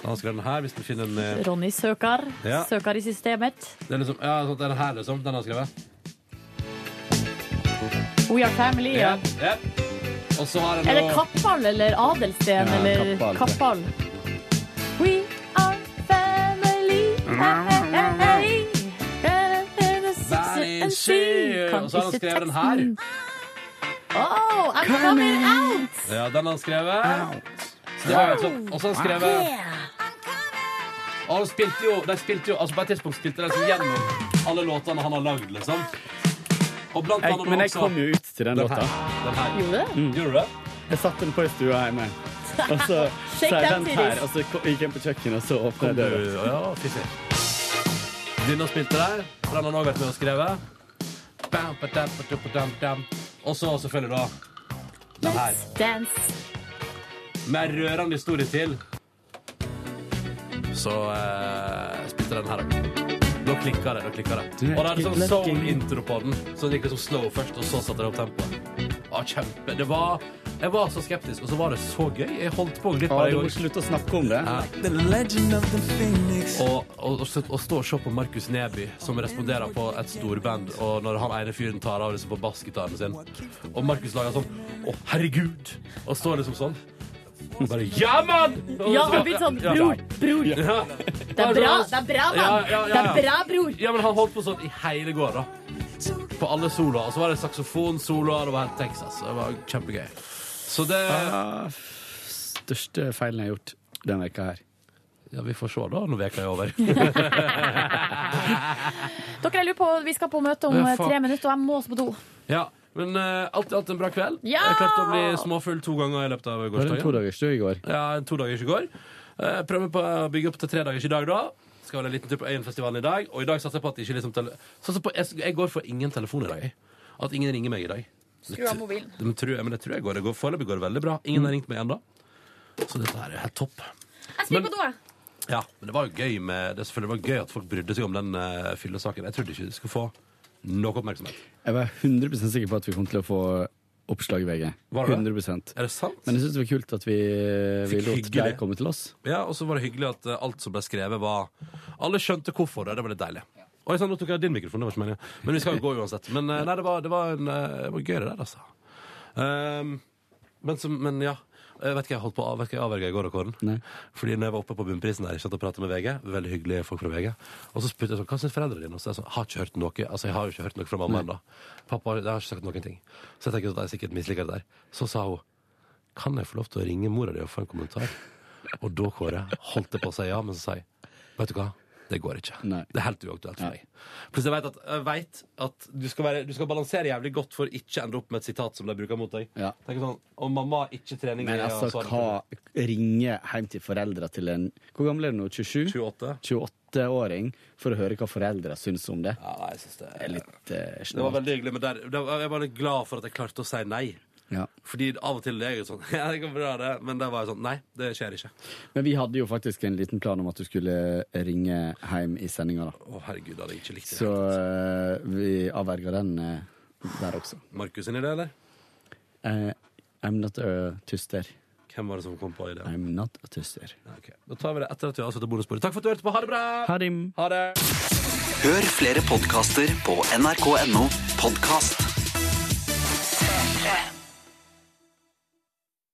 Han har skrevet den her, hvis du finner den eh, Ronny søker. Ja. Søker i systemet. Det er liksom, ja, sånn, den her, liksom. Den har jeg skrevet. We are family. Ja. Ja. Og så har den Er det nå- Kappal eller Adelsten Ja, eller Kappal. Kappal? We are family. Hey, hey, hey. And she- Kan Og så har han ikke skrevet den her. teksten. Oh, I'm coming out! Ja, den har han skrevet. Så det var jo sånn. Og så har han skrevet Og han spilte jo, de spilte jo altså På et tidspunkt spilte de liksom gjennom alle låtene han har lagd, liksom. Og blant Jeg, annet men jeg også kom jo ut til den låta. her. Den her. Gjorde du? Gjorde du det? Jeg satte den på i stua hjemme. Og så sa Shake jeg them vent her, titties. og så kom- gikk jeg inn på kjøkkenet, og så åpnet Kom jeg du, døra. ja, fy søren. Denne spilte der. Den har han òg vært med og skrevet. Bam, ba, dam, ba, dum, ba, dam, dam. Og så selvfølgelig da den her. Dance. Med rørende historie til. Så eh, spilte den her òg. Nå klikka det. nå klikka det Og da er det sånn soul-intro på den. Så det gikk liksom slow først, og så satte det opp tempoet. Å, kjempe. Det var, jeg var så skeptisk, og så var det så gøy. Jeg holdt på å glippe Å, det du i må går. slutte å snakke om det. Ja. Og, og, og, stå- og stå og se på Markus Neby, som responderer på et storband, og når han ene fyren tar av liksom på bassgitaren sin, og Markus lager sånn 'Å, herregud!' og står liksom sånn. Og Bare 'Ja, mann!' Og Ja, så- han blir sånn, Ja. «Bror, bror!» Ja. Det er bra, det er bra, mann. Ja, ja, ja, ja. Det er bra, bror. Ja, men han holdt på sånn i hele går, da. På alle soloer. Og så var det saksofonsoloer, det var helt Texas. Det var kjempegøy. Så det Største feilen jeg har gjort denne veka her. Ja, vi får se da når veka er over. Dere, jeg lurer på, vi skal på møte om Ja, eh, faen. tre minutter, og jeg må også på do. Ja, men eh, alltid hatt en bra kveld. Ja! Jeg klarte å bli småfull to ganger i løpet av Var det en gårsdagen. todagerstur i går? Ja, en todagers i går. Eh, prøver på å bygge opp til tredagers i dag, da. Skal vel en liten tur på Øyenfestivalen i dag. Og i dag satser jeg på at det ikke liksom tele satser på, jeg, jeg går for ingen telefon i dag. jeg. At ingen ringer meg i dag. Skru av mobilen. Det, tror jeg, men det tror jeg går. Det går Foreløpig går det veldig bra. Ingen Mm. har ringt meg ennå. Så dette her er helt topp. Jeg skal på do, jeg. Ja, men det var jo gøy med Det selvfølgelig var gøy at folk brydde seg om den eh, fyllesaken. Jeg trodde ikke det skulle få noe oppmerksomhet. Jeg var 100 sikker på at vi kom til å få oppslag i VG. Var det det? 100 Er det sant? Men jeg syns det var kult at vi, eh, vi Fikk lot hyggelig. deg komme til oss. Ja, og så var det hyggelig at eh, alt som ble skrevet var Alle skjønte hvorfor, og det var litt deilig. Oi, sånn, nå tok jeg din mikrofon, det var ikke meningen. Men vi skal jo gå uansett. Men eh, nei, det var, det var, en, eh, det var gøy det der, altså. Ehm, men, som, men ja. Jeg vet ikke jeg holdt på, vet ikke jeg avverga i går, Kåren. Fordi når jeg var oppe på bunnprisen der, jeg satt og pratet med VG, veldig hyggelige folk fra VG, og så spurte jeg sånn, hva syns foreldrene dine? Og så er jeg sånn, har ikke hørt noe. Altså, jeg har jo ikke hørt noe fra mamma ennå. Pappa jeg har ikke sagt noen ting. Så jeg tenker sånn, at jeg sikkert misliker det der. Så sa hun, kan jeg få lov til å ringe mora di og få en kommentar? Og da, Kåre, holdt jeg på å si ja, men så sa jeg Vet du hva, det går ikke. Det er helt uaktuelt for meg. Plutselig vet jeg at, jeg vet at du, skal være, du skal balansere jævlig godt for å ikke ende opp med et sitat som de bruker mot deg. Tenk sånn, Og mamma har ikke trening Men i å altså, svare på det. hva ringer hjem til foreldra til en Hvor gammel er du nå? 27? 28. 28-åring for å høre hva foreldra syns om det. Ja, jeg synes det er litt eh, Det var snålt. veldig hyggelig, men der, da var- jeg var litt glad for at jeg klarte å si nei. Ja. Fordi av og til er jeg jo sånn Ja, det går bra, det. Men der var jeg sånn Nei, det skjer ikke. Men vi hadde jo faktisk en liten plan om at du skulle ringe hjem i sendinga, da. Å, herregud, da hadde jeg ikke likt det. Så eh, vi avverga den eh, der også. Markus sin idé, eller? Eh, I'm not a tyster. Hvem var det som kom på ideen? I'm not a tyster. Da tar vi det etter at vi har avsluttet bonusbordet. Takk for at du hørte på. Ha det bra! Ha det. Ha det. Hør flere podkaster på nrk.no podkast.